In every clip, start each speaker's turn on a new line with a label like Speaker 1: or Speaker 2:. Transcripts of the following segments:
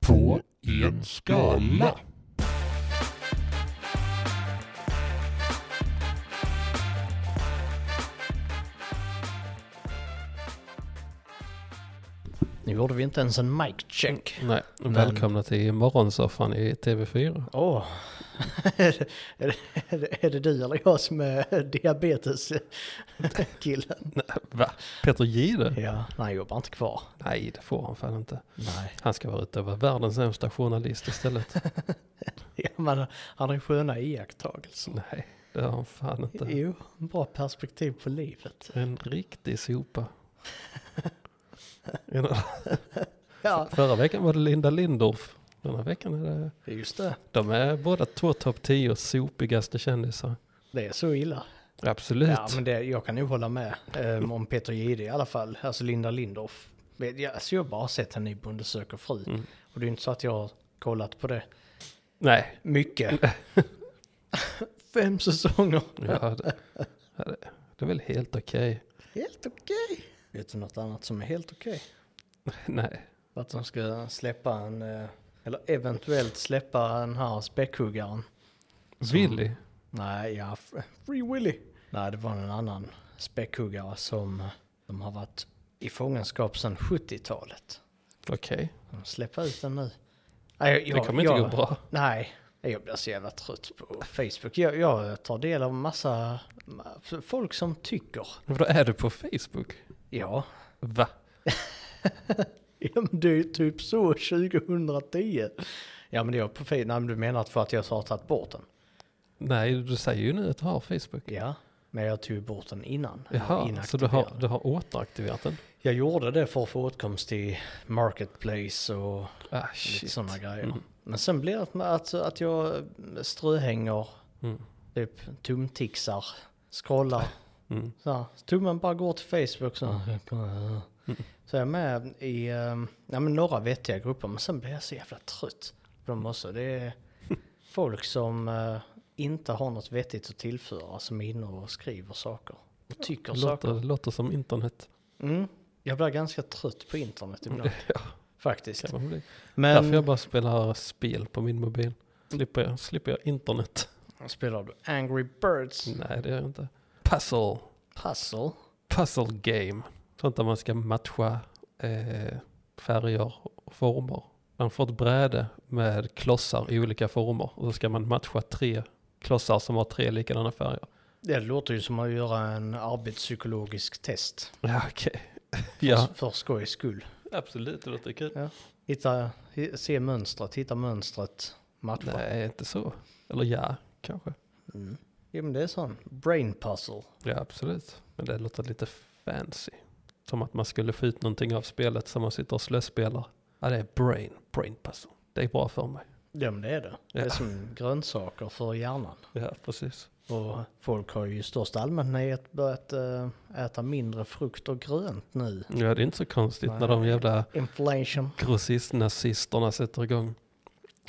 Speaker 1: på en skala.
Speaker 2: Nu gjorde vi inte ens en mic check.
Speaker 3: Nej, välkomna till morgonsoffan i TV4.
Speaker 2: Åh, är, det- är, det- är det du eller jag som är diabetes-killen?
Speaker 3: Nej, va? Peter Gide?
Speaker 2: Ja, han jobbar inte kvar.
Speaker 3: Nej, det får han fan inte.
Speaker 2: Nej.
Speaker 3: Han ska vara ute och vara världens sämsta journalist istället.
Speaker 2: Ja, men han har ju sköna iakttagelser.
Speaker 3: Nej, det har han fan inte.
Speaker 2: Jo, bra perspektiv på livet.
Speaker 3: En riktig sopa. En-
Speaker 2: Ja,
Speaker 3: Förra veckan var det Linda Lindorff. Den här veckan är det...
Speaker 2: just det.
Speaker 3: De är båda två topp 10 sopigaste kändisar.
Speaker 2: Det är så illa.
Speaker 3: Absolut.
Speaker 2: Ja, men det, jag kan ju hålla med eh, om Peter Jihde i alla fall. Alltså Linda Lindorff. Men Jag, alltså jag har bara sett henne i Bonde söker fru.
Speaker 3: Mm.
Speaker 2: Och det är ju inte så att jag har kollat på det
Speaker 3: Nej.
Speaker 2: mycket. Fem säsonger.
Speaker 3: Ja, det, ja, det, det är väl helt okej.
Speaker 2: Helt okej. Vet du något annat som är helt okej?
Speaker 3: Nej.
Speaker 2: Att de ska släppa en, eh, eller eventuellt släppa den här späckhuggaren.
Speaker 3: Willy?
Speaker 2: Nej, ja, f- Free Willy. Nej, det var en annan späckhuggare som eh, de har varit i fångenskap sedan 70-talet.
Speaker 3: Okej.
Speaker 2: De släpper ut den nu. Nej, jag,
Speaker 3: Det kommer inte
Speaker 2: jag,
Speaker 3: gå bra.
Speaker 2: Nej, jag blir så jävla trött på Facebook. Jag, jag tar del av massa ma- folk som tycker.
Speaker 3: Vadå, är du på Facebook?
Speaker 2: Ja,
Speaker 3: Va?
Speaker 2: Ja men det är ju typ så 2010. Ja men det är på fel, nej men du menar att för att jag har tagit bort den?
Speaker 3: Nej, du säger ju nu att du har Facebook.
Speaker 2: Ja. Men jag tog bort den innan.
Speaker 3: Jaha,
Speaker 2: Inaktiverad.
Speaker 3: så du har, du har återaktiverat den?
Speaker 2: Jag gjorde det för att få åtkomst till Marketplace och
Speaker 3: Ah,
Speaker 2: lite
Speaker 3: shit.
Speaker 2: sådana grejer.
Speaker 3: Mm.
Speaker 2: Men sen blir det att, att, att jag ströhänger,
Speaker 3: Mm.
Speaker 2: typ tumtixar, scrollar.
Speaker 3: Mm.
Speaker 2: Så här, tummen bara går till Facebook så. här. Så jag är med i eh, ja, men några vettiga grupper men sen blir jag så jävla trött på dem också. Det är folk som eh, inte har något vettigt att tillföra som är inne och skriver saker. Och tycker
Speaker 3: Låter,
Speaker 2: saker.
Speaker 3: låter som internet.
Speaker 2: Mm. Jag blir ganska trött på internet ibland. Ehm.
Speaker 3: Ja,
Speaker 2: Faktiskt.
Speaker 3: kan man bli. Därför jag
Speaker 2: Men
Speaker 3: bara spelar spel på min mobil. Slipper jag, slipper jag internet?
Speaker 2: spelar du Angry Birds
Speaker 3: Nej, det gör jag inte. Puzzle.
Speaker 2: Puzzle?
Speaker 3: Puzzle game. Sånt där man ska matcha eh, färger och former. Man får ett bräde med klossar i olika former. Och så ska man matcha tre klossar som har tre likadana färger.
Speaker 2: Det låter ju som att göra en arbetspsykologisk test.
Speaker 3: Ja, okej. Ja,
Speaker 2: För- För skojs skull.
Speaker 3: absolut. Det låter kul.
Speaker 2: Hitta, hi- se mönstret, hitta mönstret, matcha.
Speaker 3: Nej, inte så. Eller ja, kanske.
Speaker 2: Mm. Ja men det är sån brain puzzle.
Speaker 3: Ja, absolut. Men det låter lite fancy. Som att man skulle få ut någonting av spelet som man sitter och slöspelar. Ja, det är brain, brain puzzle. Det är bra för mig.
Speaker 2: Ja men det är det. Det är
Speaker 3: Ja.
Speaker 2: som grönsaker för hjärnan.
Speaker 3: Ja, precis.
Speaker 2: Och folk har ju i största allmänhet börjat eh, äta mindre frukt och grönt nu.
Speaker 3: Ja, det är inte så konstigt när de jävla
Speaker 2: Inflation.
Speaker 3: grossistnazisterna sätter igång.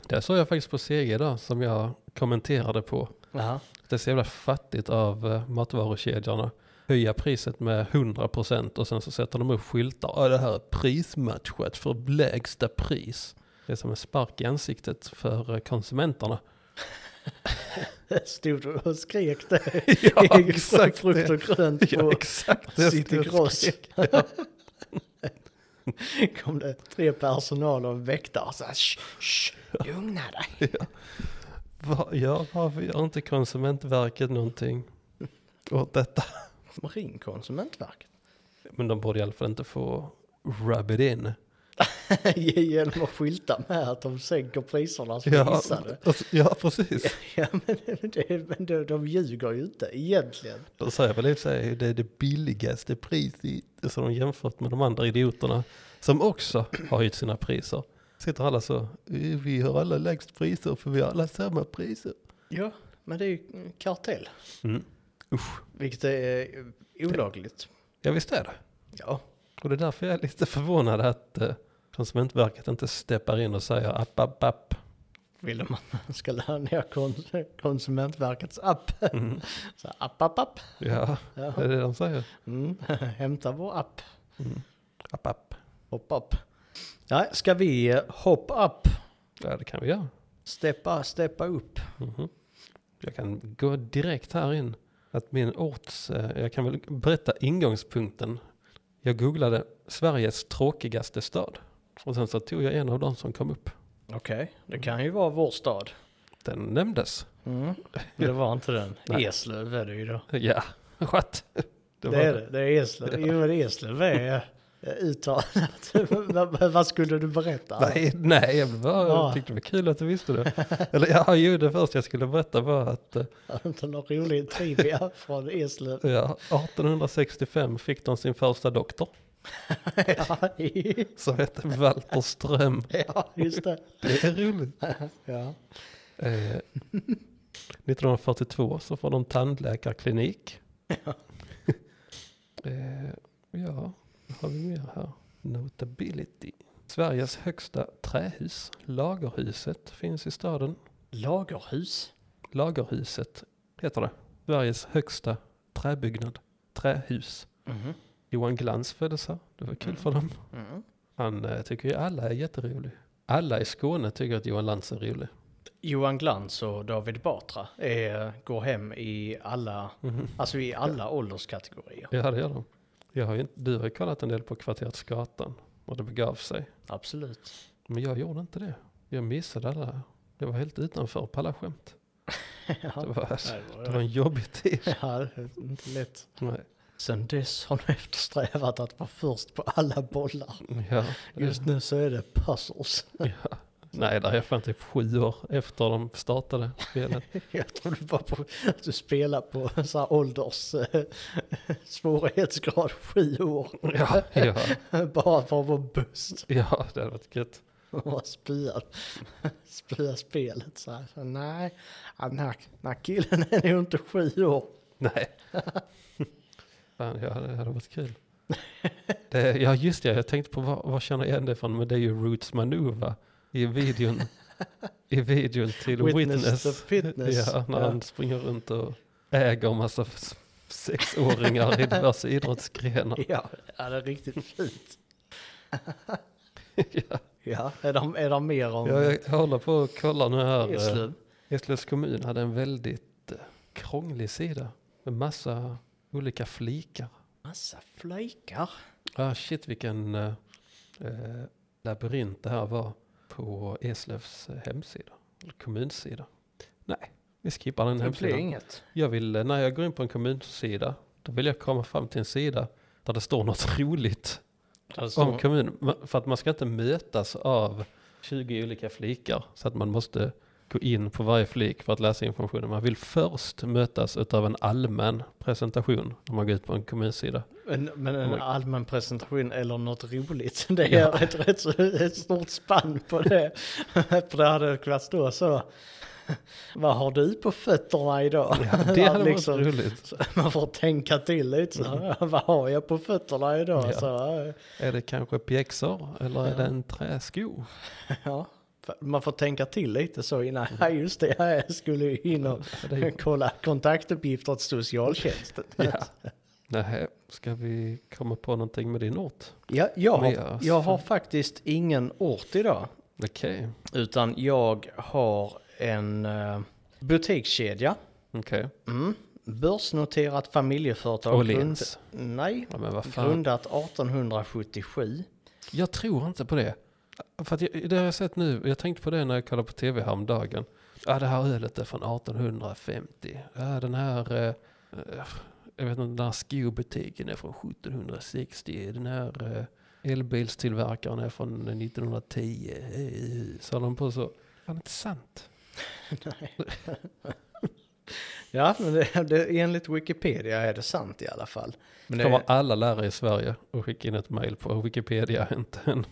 Speaker 3: Det såg jag faktiskt på CG idag som jag kommenterade på.
Speaker 2: Jaha.
Speaker 3: Det är så jävla fattigt av eh, matvarukedjorna. Höja priset med 100% och sen så sätter de upp skyltar. Ja, det här är prismatchat för lägsta pris. Det är som en spark i ansiktet för eh, konsumenterna.
Speaker 2: Stod du och skrek det?
Speaker 3: Ja,
Speaker 2: Frukt och grönt
Speaker 3: Ja,
Speaker 2: på
Speaker 3: exakt det.
Speaker 2: City Gross. kom det tre personal och en väktare så här, "Shh, shh, lugna dig.
Speaker 3: Va, ja, varför gör inte Konsumentverket någonting åt detta?
Speaker 2: Ring Konsumentverket.
Speaker 3: Men de borde i alla fall inte få rub it in.
Speaker 2: Genom att skylta med att de sänker priserna som
Speaker 3: Ja,
Speaker 2: gissade.
Speaker 3: alltså, ja precis.
Speaker 2: Ja, men, det, men de, de ljuger ju inte egentligen.
Speaker 3: De säger väl i och för sig det är det billigaste priset som de jämfört med de andra idioterna som också har höjt sina priser. Sitter alla så, "Eh, vi har alla lägst priser för vi har alla samma priser.
Speaker 2: Ja, men det är ju en kartell.
Speaker 3: Mm. Usch.
Speaker 2: Vilket är eh, olagligt.
Speaker 3: Ja visst är det.
Speaker 2: Ja,
Speaker 3: Och det är därför jag är lite förvånad att eh, Konsumentverket inte steppar in och säger app, app, app.
Speaker 2: vill de att man ska ladda ner kons Konsumentverkets app. Så här, app, app, app.
Speaker 3: Ja,
Speaker 2: Ja.
Speaker 3: det är det de säger.
Speaker 2: Mm. Hämta vår app.
Speaker 3: App, app.
Speaker 2: Hop up. Nej, ska vi eh, hop up
Speaker 3: Ja, det kan vi göra.
Speaker 2: Steppa, steppa upp.
Speaker 3: Mhm. Jag kan gå direkt här in. Att min orts, eh, jag kan väl berätta ingångspunkten. Jag googlade Sveriges tråkigaste stad. Och sen så tog jag en av dem som kom upp.
Speaker 2: Okej, det kan ju vara vår stad.
Speaker 3: Den nämndes.
Speaker 2: Mm. Det var inte den.
Speaker 3: Nej.
Speaker 2: Eslöv är det ju då.
Speaker 3: Ja, what?
Speaker 2: Det,
Speaker 3: var
Speaker 2: är det. Det är Eslöv. Jo, men Eslöv är eh, uttalat. Vad- Vad skulle du berätta?
Speaker 3: Nej, nej jag, bara,
Speaker 2: Ja.
Speaker 3: jag tyckte det var kul att du visste det. Eller ja, ju det första jag skulle berätta var att eh,
Speaker 2: Har du Inte någon rolig trivia från Eslöv.
Speaker 3: ja, 1865 fick de sin första doktor
Speaker 2: ja, i-
Speaker 3: som hette Walter Ström.
Speaker 2: ja, just det.
Speaker 3: Det är roligt.
Speaker 2: Ja.
Speaker 3: Eh, 1942 så får de tandläkarklinik. eh, ja, vad har vi mer här? Notability. Sveriges högsta trähus, Lagerhuset, finns i staden.
Speaker 2: Lagerhus.
Speaker 3: Lagerhuset heter det. Sveriges högsta träbyggnad, trähus.
Speaker 2: Mhm.
Speaker 3: Johan Glans föddes här, det var kul för dem.
Speaker 2: Mm.
Speaker 3: Han eh, tycker ju alla är jätterolig. Alla i Skåne tycker att Johan Glans är rolig.
Speaker 2: Johan Glans och David Batra är, går hem i alla,
Speaker 3: Mhm.
Speaker 2: alltså i alla ålderskategorier.
Speaker 3: Ja, det gör de. Jag har ju, inte- du har ju kollat en del på Kvarteret Skatan och det begav sig.
Speaker 2: Absolut.
Speaker 3: Men jag gjorde inte det. Jag missade alla. Jag var helt utanför på alla skämt.
Speaker 2: Ja.
Speaker 3: Det, var,
Speaker 2: Nej, det var
Speaker 3: det var en jobbig tid.
Speaker 2: Ja, det är inte lätt.
Speaker 3: Nej.
Speaker 2: Sen dess har du eftersträvat att vara först på alla bollar.
Speaker 3: Ja.
Speaker 2: Just nu så är det puzzles.
Speaker 3: Ja. Nej, där är jag fan typ sju år efter de startade spelet.
Speaker 2: Jag tror du var på att du spelar på så här ålders eh, svårighetsgrad sju år.
Speaker 3: Ja, ja,
Speaker 2: Bara för att vara bust
Speaker 3: ja det hade varit gött.
Speaker 2: och bara spya, spya spelet så här. Så, nej, ja, den här, den här killen är nog inte sju år.
Speaker 3: Nej. Fan, ja, det hade varit kul. Det, ja, just det. Jag tänkte på vad, vad känner jag igen det från? Men det är ju Roots Manuva i videon. I videon till
Speaker 2: Witness
Speaker 3: Witness.
Speaker 2: the Fitness.
Speaker 3: Ja, när
Speaker 2: Ja.
Speaker 3: han springer runt och äger en massa f- sexåringar i diverse idrottsgrenar.
Speaker 2: Ja, ja det är riktigt fint.
Speaker 3: Ja,
Speaker 2: Ja, är det, är det mer om
Speaker 3: jag håller på och kollar nu här. eh,
Speaker 2: Eslöv?
Speaker 3: Eslövs kommun hade en väldigt eh, krånglig sida med massa olika flikar.
Speaker 2: Massa flöjkar.
Speaker 3: Ah, shit vilken eh, eh, labyrint det här var på Eslövs eh, hemsida, eller kommunsida. Nej, vi skippar den
Speaker 2: Det blir
Speaker 3: hemsidan.
Speaker 2: inget.
Speaker 3: Jag vill, eh, när jag går in på en kommunsida, då vill jag komma fram till en sida där det står något roligt Alltså, om kommunen. Ma- För att man ska inte mötas av 20 olika flikar så att man måste gå in på varje flik för att läsa informationen. Man vill först mötas av en allmän presentation när man går ut på en kommunsida.
Speaker 2: Men, men
Speaker 3: Oh
Speaker 2: en
Speaker 3: my-
Speaker 2: allmän presentation eller något roligt. Det är
Speaker 3: Ja.
Speaker 2: ett rätt så- ett stort spann på det. För det hade kunnat stå så. Vad har du på fötterna idag?
Speaker 3: Det hade varit
Speaker 2: Liksom,
Speaker 3: roligt. Mm.
Speaker 2: så Man får tänka till lite. Så, här, Vad har jag på fötterna idag?
Speaker 3: Ja.
Speaker 2: Så, eh,
Speaker 3: Är det kanske pjäxor eller
Speaker 2: Ja.
Speaker 3: är det en träsko?
Speaker 2: ja. För Man får tänka till lite så innan. Ja just det, jag skulle ju in och
Speaker 3: Ja, det är ju-
Speaker 2: kolla kontaktuppgifter till socialtjänsten.
Speaker 3: Ja. Nej, ska vi komma på någonting med din ort?
Speaker 2: Ja, jag, har,
Speaker 3: Mer.
Speaker 2: jag har faktiskt ingen ort idag.
Speaker 3: Okej,
Speaker 2: Utan jag har en eh, butikskedja.
Speaker 3: okej.
Speaker 2: Mm. Börsnoterat familjeföretag.
Speaker 3: Åhléns.
Speaker 2: grund- Nej.
Speaker 3: Ja, men vad fan.
Speaker 2: Grundat 1877.
Speaker 3: Jag tror inte på det. För att jag, det har jag sett nu, jag tänkte på det när jag kollade på tv häromdagen. Ja, det här ölet är från 1850. Ja, den här, eh, eh, jag vet inte, den här skobutiken är från 1760. Den här eh, elbilstillverkaren är från 1910. Eh, Så håller de på så. Fan, inte sant.
Speaker 2: Ja, men det, det, enligt Wikipedia är det sant i alla fall. Men det,
Speaker 3: kommer alla lärare i Sverige och skicka in ett mail på Wikipedia är inte en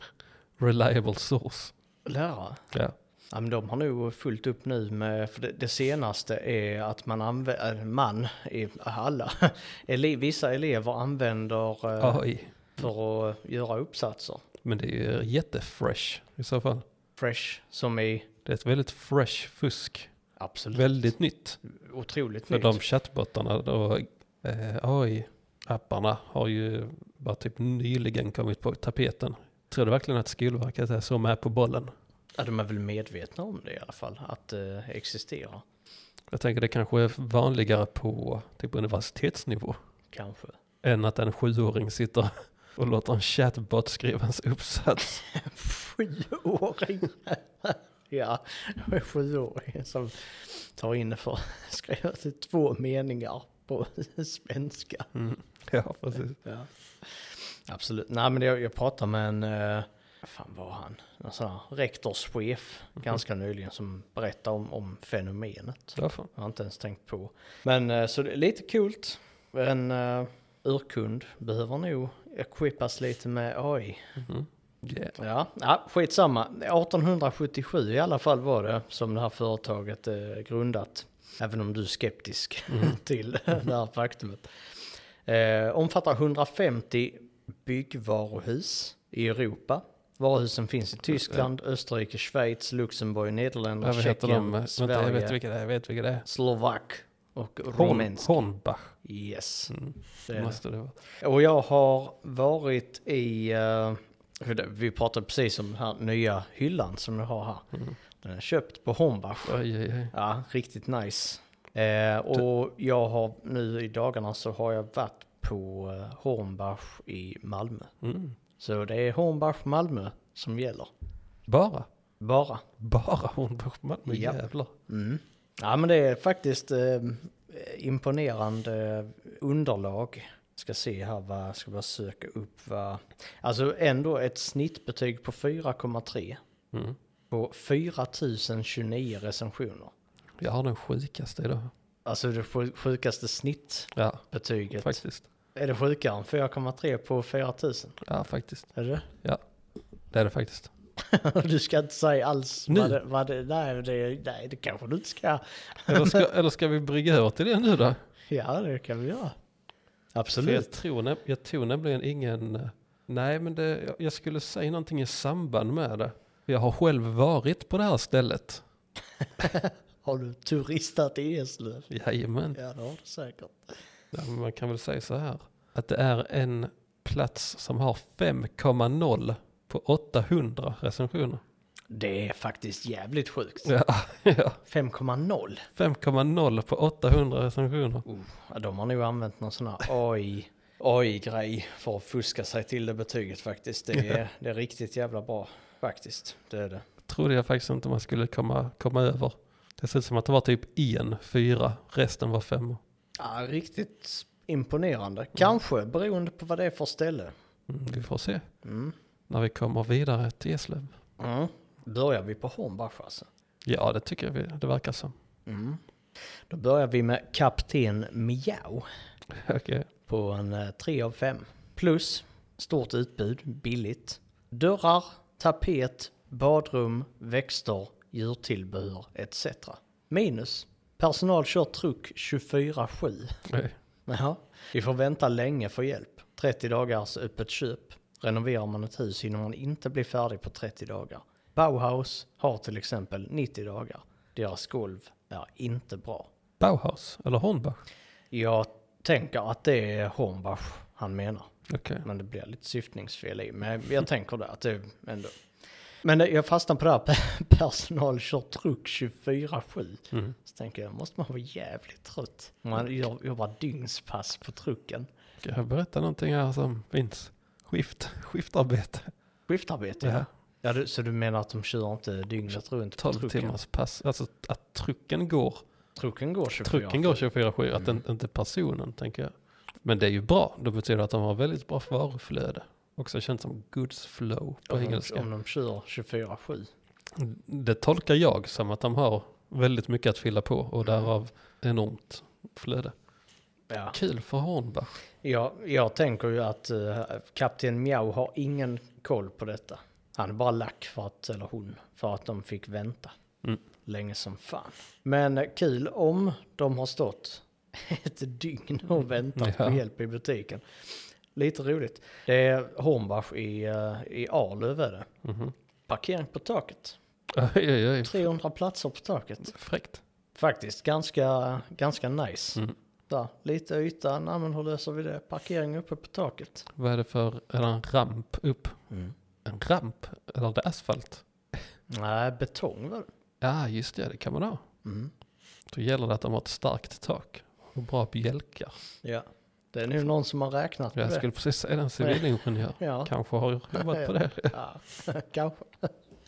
Speaker 3: reliable source.
Speaker 2: lärare?
Speaker 3: Ja.
Speaker 2: Ja, men de har nog fullt upp nu med, för det, det senaste är att man använder, man, i alla, ele, vissa elever använder eh,
Speaker 3: AI.
Speaker 2: för att göra uppsatser.
Speaker 3: Men det är ju jättefresh i så fall.
Speaker 2: Fresh som i
Speaker 3: Det är ett väldigt fresh fusk.
Speaker 2: absolut
Speaker 3: Väldigt nytt.
Speaker 2: otroligt
Speaker 3: För
Speaker 2: nytt.
Speaker 3: de chattbottarna och eh, AI-apparna har ju bara typ nyligen kommit på tapeten. Tror du verkligen att Skolverket är så med på bollen?
Speaker 2: Ja, de är väl medvetna om det i alla fall, att eh, det existerar.
Speaker 3: Jag tänker det kanske är vanligare på typ universitetsnivå
Speaker 2: Kanske.
Speaker 3: än att en sjuåring sitter och låter en chatbot skriva hans uppsats.
Speaker 2: Sjuåring! ja, en sjuåring som tar in för att skriva till två meningar på svenska.
Speaker 3: Ja, precis.
Speaker 2: Ja. Absolut. Nej, men jag, jag pratade med en, eh, vad fan var han? En sån här rektorschef ganska nyligen som berättade om, om fenomenet.
Speaker 3: Ja, fan.
Speaker 2: Jag har inte ens tänkt på. Men eh, så det är lite kul. En eh, urkund behöver nog equippas lite med AI.
Speaker 3: Mhm. Yeah.
Speaker 2: Ja, ja, skitsamma. 1877 i alla fall var det som det här företaget eh, grundat. Även om du är skeptisk
Speaker 3: Mm.
Speaker 2: till det här faktumet. Eh, omfattar 150 byggvaruhus i Europa. Varuhusen finns i Tyskland, Österrike, Schweiz, Luxemburg, Nederländerna,
Speaker 3: Ja, vad heter
Speaker 2: Tjeckien,
Speaker 3: de? Vänta, jag vet
Speaker 2: Sverige,
Speaker 3: vilka det är. Jag vet vilka det är.
Speaker 2: Slovak och
Speaker 3: Horn,
Speaker 2: Rumänsk.
Speaker 3: Hornbach
Speaker 2: Yes.
Speaker 3: Mm.
Speaker 2: Det är det.
Speaker 3: måste det vara.
Speaker 2: Och jag har varit i, eh, för det- vi pratade precis om den här nya hyllan som jag har här. Den är köpt på Hornbach.
Speaker 3: Oj, oj, oj.
Speaker 2: Ja, riktigt nice. Eh, och jag har nu i dagarna så har jag varit på eh, Hornbach i Malmö.
Speaker 3: Mm.
Speaker 2: Så det är Hornbach Malmö som gäller.
Speaker 3: Bara.
Speaker 2: Bara.
Speaker 3: Bara Hornbach Malmö,
Speaker 2: Ja.
Speaker 3: jävlar.
Speaker 2: Mm. Ja men det är faktiskt eh, imponerande underlag. Ska se här vad, ska bara söka upp vad. Alltså ändå ett snittbetyg på 4,3
Speaker 3: Mm.
Speaker 2: på 4029 recensioner.
Speaker 3: Jag har den sjukaste idag.
Speaker 2: Alltså det sjuk- sjukaste snittbetyget.
Speaker 3: Ja, faktiskt.
Speaker 2: Är det sjukare än 4,3 på 4000?
Speaker 3: Ja, faktiskt.
Speaker 2: Är det
Speaker 3: Det är det faktiskt.
Speaker 2: det? Du ska inte säga alls
Speaker 3: Nu?
Speaker 2: vad det, vad det, nej, det, nej det kanske du inte ska.
Speaker 3: Eller ska, eller ska vi brygga över till det nu då?
Speaker 2: Ja det kan vi göra.
Speaker 3: För jag,
Speaker 2: Absolut.
Speaker 3: tror, näm- jag tror nämligen ingen... eh, Nej, men det, jag- jag skulle säga någonting i samband med det. Jag har själv varit på det här stället.
Speaker 2: Har du turistat i Eslöv?
Speaker 3: Jajamän.
Speaker 2: Ja, det har du säkert.
Speaker 3: Ja, men man kan väl säga så här. Att det är en plats som har 5,0 på 800 recensioner.
Speaker 2: Det är faktiskt jävligt sjukt.
Speaker 3: Ja, ja.
Speaker 2: 5,0.
Speaker 3: 5,0 på 800 recensioner.
Speaker 2: Oh, ja, de har nog använt någon sån här AI, AI-grej för att fuska sig till det betyget faktiskt. Det är, det är riktigt jävla bra faktiskt. Det är det.
Speaker 3: Trodde jag faktiskt inte man skulle komma, komma över. Det ser ut som att det var typ en fyra, resten var fem.
Speaker 2: Ja, riktigt imponerande. Kanske beroende på vad det är för ställe.
Speaker 3: Mm, vi får se
Speaker 2: Mm.
Speaker 3: när vi kommer vidare till Eslöv.
Speaker 2: Mm. Börjar vi på Hornbach alltså?
Speaker 3: Ja, det tycker jag vi, det verkar som.
Speaker 2: Mm. Då börjar vi med Kapten Miao.
Speaker 3: Okej.
Speaker 2: på en 3 av 5. Plus stort utbud, billigt. Dörrar, tapet, badrum, växter, djurtillbehör etc. Minus. Personal kör truck 24-7.
Speaker 3: Nej.
Speaker 2: Jaha. Vi får vänta länge för hjälp. 30 dagars öppet köp. Renoverar man ett hus hinner man inte bli färdig på 30 dagar. Bauhaus har till exempel 90 dagar. Deras golv är inte bra.
Speaker 3: Bauhaus eller Hornbach?
Speaker 2: Jag tänker att det är Hornbach han menar.
Speaker 3: Okej.
Speaker 2: Men det blir lite syftningsfel i. Men jag- jag tänker det att det ändå. Men det- jag fastnar på det här pe- personal kör truck 24-7.
Speaker 3: Mm.
Speaker 2: Så tänker jag, måste man vara jävligt trött? Man gör- jobbar dygnspass på trucken.
Speaker 3: Ska jag berätta någonting här som finns? Skift, skiftarbete.
Speaker 2: Skiftarbete, ja.
Speaker 3: Ja.
Speaker 2: ja du, så du menar att de kör inte dygnet runt på
Speaker 3: 12
Speaker 2: trucken?
Speaker 3: timmars pass. Alltså att trucken går.
Speaker 2: Trucken går 24
Speaker 3: Trucken går 24-7, att den, inte personen tänker jag. Men det är ju bra. Det betyder att de har väldigt bra varuflöde. Också känt som goods flow på
Speaker 2: om
Speaker 3: engelska. Mm.
Speaker 2: De, om de kör 24-7.
Speaker 3: Det tolkar jag som att de har väldigt mycket att fylla på och därav enormt flöde.
Speaker 2: Ja.
Speaker 3: Kul för Hornbach.
Speaker 2: Jag, jag tänker ju att eh, kapten Miao har ingen koll på detta. Han är bara lack för att, eller hon, för att de fick vänta.
Speaker 3: Mm.
Speaker 2: Länge som fan. Men eh, kul om de har stått ett dygn och väntat
Speaker 3: Ja.
Speaker 2: på hjälp i butiken. Lite roligt. Det är Hornbach i, eh, i Arlöv är det.
Speaker 3: Mhm.
Speaker 2: Parkering på taket.
Speaker 3: Oj, oj, oj.
Speaker 2: 300 platser på taket.
Speaker 3: Fräckt.
Speaker 2: Faktiskt ganska, ganska nice.
Speaker 3: Mm.
Speaker 2: Där, lite yta, nej men hur löser vi det? Parkering uppe på taket.
Speaker 3: Vad är det för, är det en ramp upp?
Speaker 2: Mm.
Speaker 3: En ramp? Eller är det asfalt?
Speaker 2: Nej, betong var det.
Speaker 3: Ja, just det, det kan man ha.
Speaker 2: Mm.
Speaker 3: Då gäller det att de har ett starkt tak och bra bjälkar.
Speaker 2: Ja. Det är nu någon som har räknat på
Speaker 3: Jag
Speaker 2: det.
Speaker 3: skulle precis säga en civilingenjör.
Speaker 2: Ja,
Speaker 3: Kanske har jobbat på det.
Speaker 2: ja. kanske.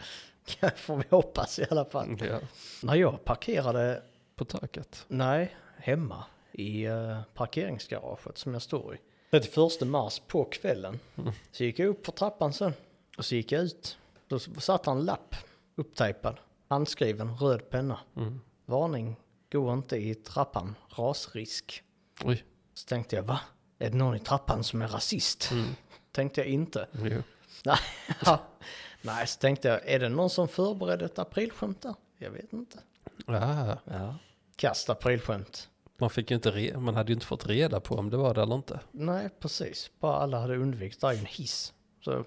Speaker 2: Får vi hoppas i alla fall.
Speaker 3: Ja.
Speaker 2: När jag parkerade,
Speaker 3: På taket.
Speaker 2: nej, hemma i eh, parkeringsgaraget som jag står i. 31 mars på kvällen.
Speaker 3: Mm.
Speaker 2: Så gick jag upp för trappan sen. Och så gick jag ut. Då satt han en lapp upptejpad. Handskriven, röd penna.
Speaker 3: Mm.
Speaker 2: Varning, gå inte i trappan, rasrisk.
Speaker 3: Oj,
Speaker 2: Så tänkte jag, va? Är det någon i trappan som är rasist?
Speaker 3: Mm.
Speaker 2: Tänkte jag inte.
Speaker 3: jo.
Speaker 2: Ja. Nej, så tänkte jag, är det någon som förberedde ett aprilskämt där? Jag vet inte.
Speaker 3: Ah,
Speaker 2: Ja. Kast aprilskämt.
Speaker 3: man, fick ju inte re- man hade ju inte fått reda på om det var det eller inte.
Speaker 2: Nej, precis. Bara alla hade undvikit. Det är ju en hiss. Så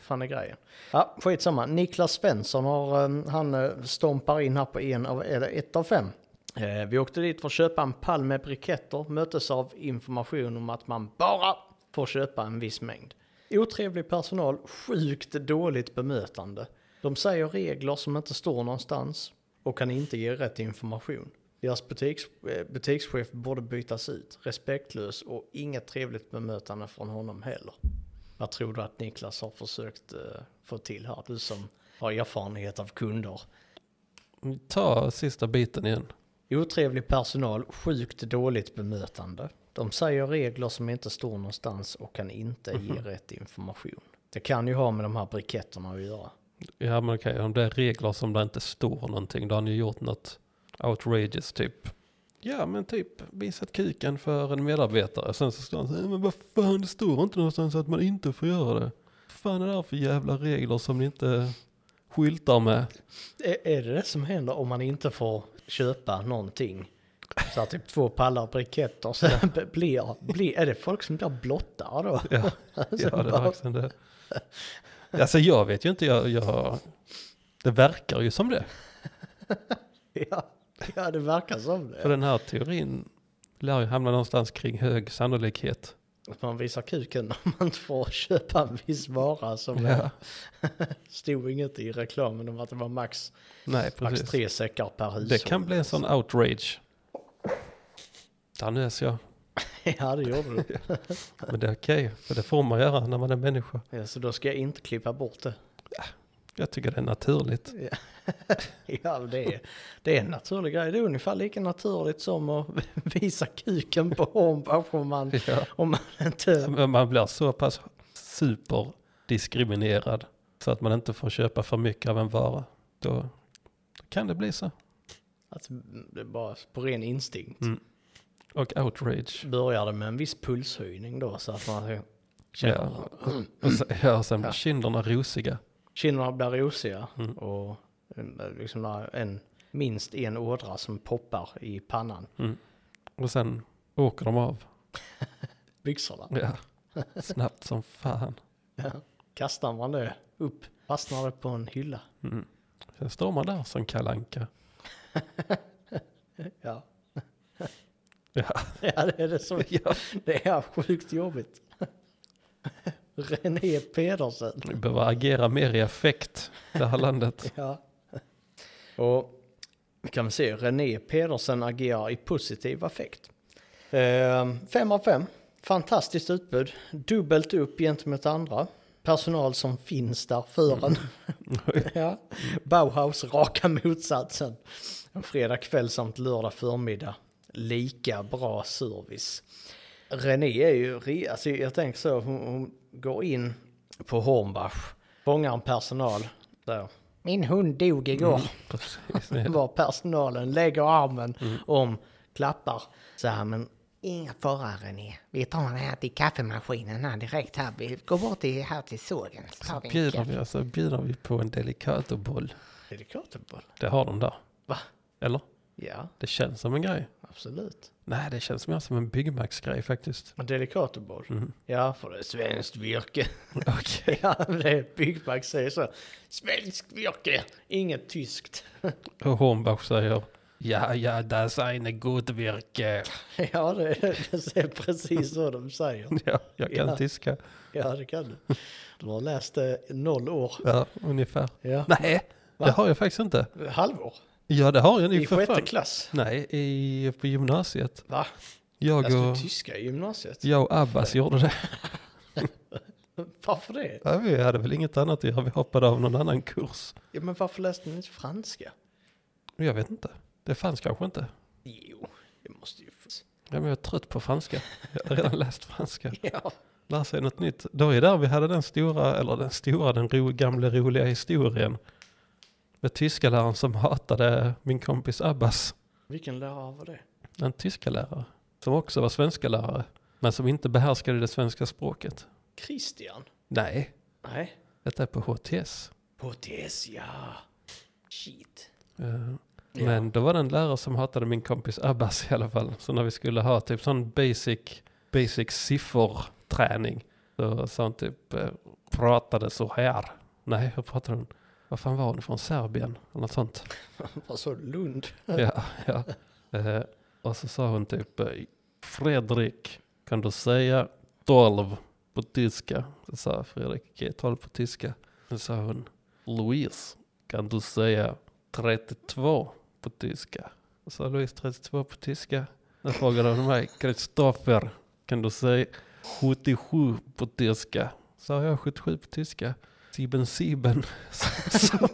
Speaker 2: fan är grejen. Ja, skitsamma. Niklas Svensson har, eh, han eh, stompar in här på en av, eller ett av fem. Eh, Vi åkte dit för att köpa en pall med briketter, möttes av information om att man bara får köpa en viss mängd. Otrevlig personal, sjukt dåligt bemötande. De säger regler som inte står någonstans och kan inte ge rätt information. Deras butiks, eh, butikschef borde bytas ut, respektlös och inget trevligt bemötande från honom heller. Vad tror du att Niklas har försökt eh, få till här? Du som har erfarenhet av kunder.
Speaker 3: Ta sista biten igen.
Speaker 2: Otrevlig personal, sjukt dåligt bemötande. De säger regler som inte står någonstans och kan inte ge rätt information. Det kan ju ha med de här briketterna att göra.
Speaker 3: Ja men okej, om det är regler som det inte står någonting, då har ni gjort något outrageous typ. Ja men typ visat kuken för en medarbetare. Sen så står han så här, men vad fan det står inte någonstans att man inte får göra det. Vad fan är det här för jävla regler som ni inte skyltar med?
Speaker 2: Är, är det det som händer om man inte får köpa någonting? Så här, typ två pallar briketter. Så blir, blir, är det folk som blir blottare då?
Speaker 3: Ja, ja det är verkligen det. Alltså jag vet ju inte, jag, jag, det verkar ju som det.
Speaker 2: Ja, ja, det verkar som
Speaker 3: För
Speaker 2: det.
Speaker 3: den här teorin lär ju hamna någonstans kring hög sannolikhet.
Speaker 2: Att man visar kuken om man inte får köpa en viss vara som
Speaker 3: Ja,
Speaker 2: stod inget i reklamen om att det var max,
Speaker 3: nej
Speaker 2: max
Speaker 3: precis.
Speaker 2: tre säckar per hushåll.
Speaker 3: Det kan bli en sån outrage. Där nös jag.
Speaker 2: Ja, det gjorde du.
Speaker 3: Men det är okej, för det får man göra när man är människa.
Speaker 2: Ja, så då ska jag inte klippa bort det.
Speaker 3: Jag tycker det är naturligt.
Speaker 2: Ja, det är, det är en naturlig grej. Det är ungefär lika naturligt som att visa kuken på hornbach om man,
Speaker 3: Ja.
Speaker 2: om man inte...
Speaker 3: Men man blir så pass superdiskriminerad så att man inte får köpa för mycket av en vara. Då kan det bli så.
Speaker 2: Alltså, det är bara på ren instinkt.
Speaker 3: Mm. Och outrage.
Speaker 2: Börjar det med en viss pulshöjning då så att man känner...
Speaker 3: Ja. Och sen, ja, och sen blir kinderna rosiga.
Speaker 2: kinderna blir rosiga
Speaker 3: Mm.
Speaker 2: och eh, liksom där en, minst en ådra som poppar i pannan.
Speaker 3: Och sen åker de av.
Speaker 2: Byxorna.
Speaker 3: Ja. Snabbt som fan.
Speaker 2: Kastar man det upp, fastnar det på en hylla.
Speaker 3: Mm. Sen står man där som kalanka.
Speaker 2: Ja,
Speaker 3: Ja.
Speaker 2: ja det är det som
Speaker 3: ja.
Speaker 2: Det är sjukt jobbigt. René Pedersen.
Speaker 3: Vi behöver agera mer i affekt, det här landet.
Speaker 2: Ja. Och vi kan se, René Pedersen agerar i positiv affekt. Ehm, Fem av fem. Fantastiskt utbud. Dubbelt upp gentemot andra. Personal som finns där för en. Mm. ja. Bauhaus raka motsatsen. En fredag kväll samt lördag förmiddag. Lika bra service. René är ju, re- alltså jag tänker så, hon, hon går in på Hornbach, fångar en personal där. Mm. Min hund dog igår,
Speaker 3: Precis.
Speaker 2: var personalen, lägger armen om, klappar. Så här, men
Speaker 4: Inga fara René. Vi tar den här till kaffemaskinen här direkt här. Vi går bort till, här till sågen. Så tar vi en
Speaker 3: Bjuder
Speaker 4: kaffe.
Speaker 3: vi, alltså, bjuder vi på en delicatoboll.
Speaker 2: delikatoboll.
Speaker 3: Det har de där.
Speaker 2: Va?
Speaker 3: Eller?
Speaker 2: Ja,
Speaker 3: Det känns som en grej.
Speaker 2: absolut.
Speaker 3: Nej, det känns mer som en byggmaxgrej faktiskt.
Speaker 2: En delikatoboll?
Speaker 4: Mm.
Speaker 2: Ja, för det är svenskt virke.
Speaker 3: Okej.
Speaker 2: ja, det är Byggback säger så. Svenskt virke, inget tyskt.
Speaker 3: Och Hornbach säger Ja, ja, das eine gut virke.
Speaker 2: ja, det är, det är precis så de säger.
Speaker 3: Ja, jag kan
Speaker 2: Ja.
Speaker 3: tyska.
Speaker 2: Ja, det kan du. Du har läst det i noll år.
Speaker 3: Ja, ungefär.
Speaker 2: Ja.
Speaker 3: Nej, Det har jag faktiskt inte.
Speaker 2: Halvår?
Speaker 3: Ja, det har jag
Speaker 2: I
Speaker 3: nog för
Speaker 2: sjätte
Speaker 3: fan.
Speaker 2: klass?
Speaker 3: Nej, i, på gymnasiet.
Speaker 2: Va? Jag
Speaker 3: Jag och,
Speaker 2: skulle tyska i gymnasiet?
Speaker 3: jag och Abbas gjorde det.
Speaker 2: Varför det?
Speaker 3: Ja, vi hade väl inget annat att göra, vi hoppade av någon annan kurs.
Speaker 2: Ja, men varför läste ni inte franska?
Speaker 3: Jag vet inte. Det fanns kanske inte.
Speaker 2: Jo, det måste ju finnas.
Speaker 3: Ja, men jag är trött på franska. Jag har redan läst franska.
Speaker 2: Ja.
Speaker 3: Lära sig något nytt. Det var ju där vi hade den stora, eller den stora, den ro, gamla roliga historien. Med tyskaläraren som hatade min kompis Abbas.
Speaker 2: Vilken lärare var det?
Speaker 3: En tyskalärare. Som också var svenska lärare. Men som inte behärskade det svenska språket.
Speaker 2: Christian?
Speaker 3: Nej,
Speaker 2: Nej.
Speaker 3: detta är på HTS.
Speaker 2: Potes, ja. Shit.
Speaker 3: Eh, Men då var det en lärare som hatade min kompis Abbas i alla fall. Så när vi skulle ha typ sån basic, basic sifferträning. Så sa hon typ, eh, pratade så här. Nej, hur pratade hon? Vad fan var hon från Serbien? Eller något sånt.
Speaker 2: Vad sa du? Lund?
Speaker 3: Ja, ja. Eh, och så sa hon typ, eh, Fredrik, kan du säga 12 på tyska? Så sa Fredrik, okej, 12 på tyska. Så sa hon, Louise, kan du säga 32 på tyska? Så sa Louise 32 på tyska. Då frågade hon mig, Kristoffer, kan du säga 77 på tyska? Sa jag 77 på tyska? Sieben sieben. Så-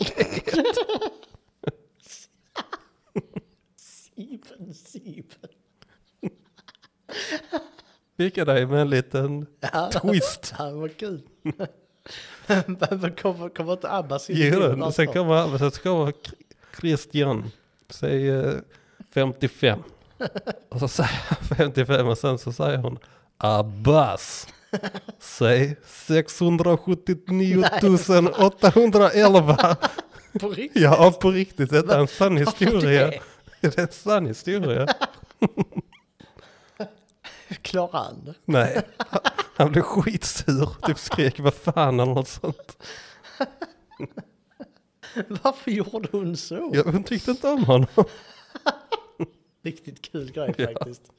Speaker 2: Sieben, Sieben.
Speaker 3: Fick jag dig med en liten
Speaker 2: Ja.
Speaker 3: twist.
Speaker 2: Ja, vad kul. Men men kommer, kommer inte Abbas in i
Speaker 3: Jo,
Speaker 2: bilden
Speaker 3: då,
Speaker 2: alltså?
Speaker 3: sen kommer, sen kommer Kr- Christian, säg eh, 55. Och så säger han 55 och sen så säger hon Abbas, säg 679 811.
Speaker 2: På riktigt?
Speaker 3: Ja, på riktigt, detta är en sann
Speaker 2: Varför
Speaker 3: historia.
Speaker 2: det?
Speaker 3: Det är en sann historia.
Speaker 2: Klarar han det?
Speaker 3: Nej, han- han blev skitsur, typ skrek vad fan eller något sånt.
Speaker 2: Varför gjorde hon så?
Speaker 3: Jag, hon tyckte inte om honom.
Speaker 2: Riktigt kul grej
Speaker 3: Ja.
Speaker 2: faktiskt.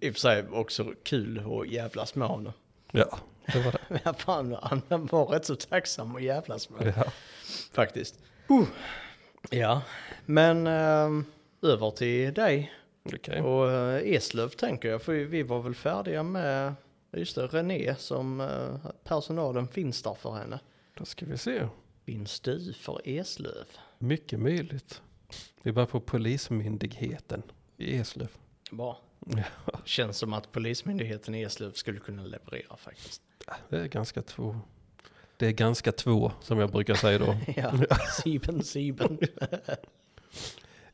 Speaker 2: I och för sig också kul att jävlas med honom.
Speaker 3: Ja, det var det.
Speaker 2: Men fan, han var rätt så tacksam att jävlas med.
Speaker 3: Ja.
Speaker 2: Faktiskt. Uh. Ja, men ehm, över till dig
Speaker 3: Okej.
Speaker 2: och eh, Eslöv tänker jag. För vi var väl färdiga med, just det, René som eh, personalen finns där för henne.
Speaker 3: Då ska vi se.
Speaker 2: Finns du för Eslöv?
Speaker 3: Mycket möjligt. Vi var på Polismyndigheten i Eslöv.
Speaker 2: Bra. Känns som att Polismyndigheten i Eslöv skulle kunna leverera faktiskt.
Speaker 3: Ah, Det är ganska två. Det är ganska två som jag brukar säga då.
Speaker 2: Ja, Sieben, Sieben.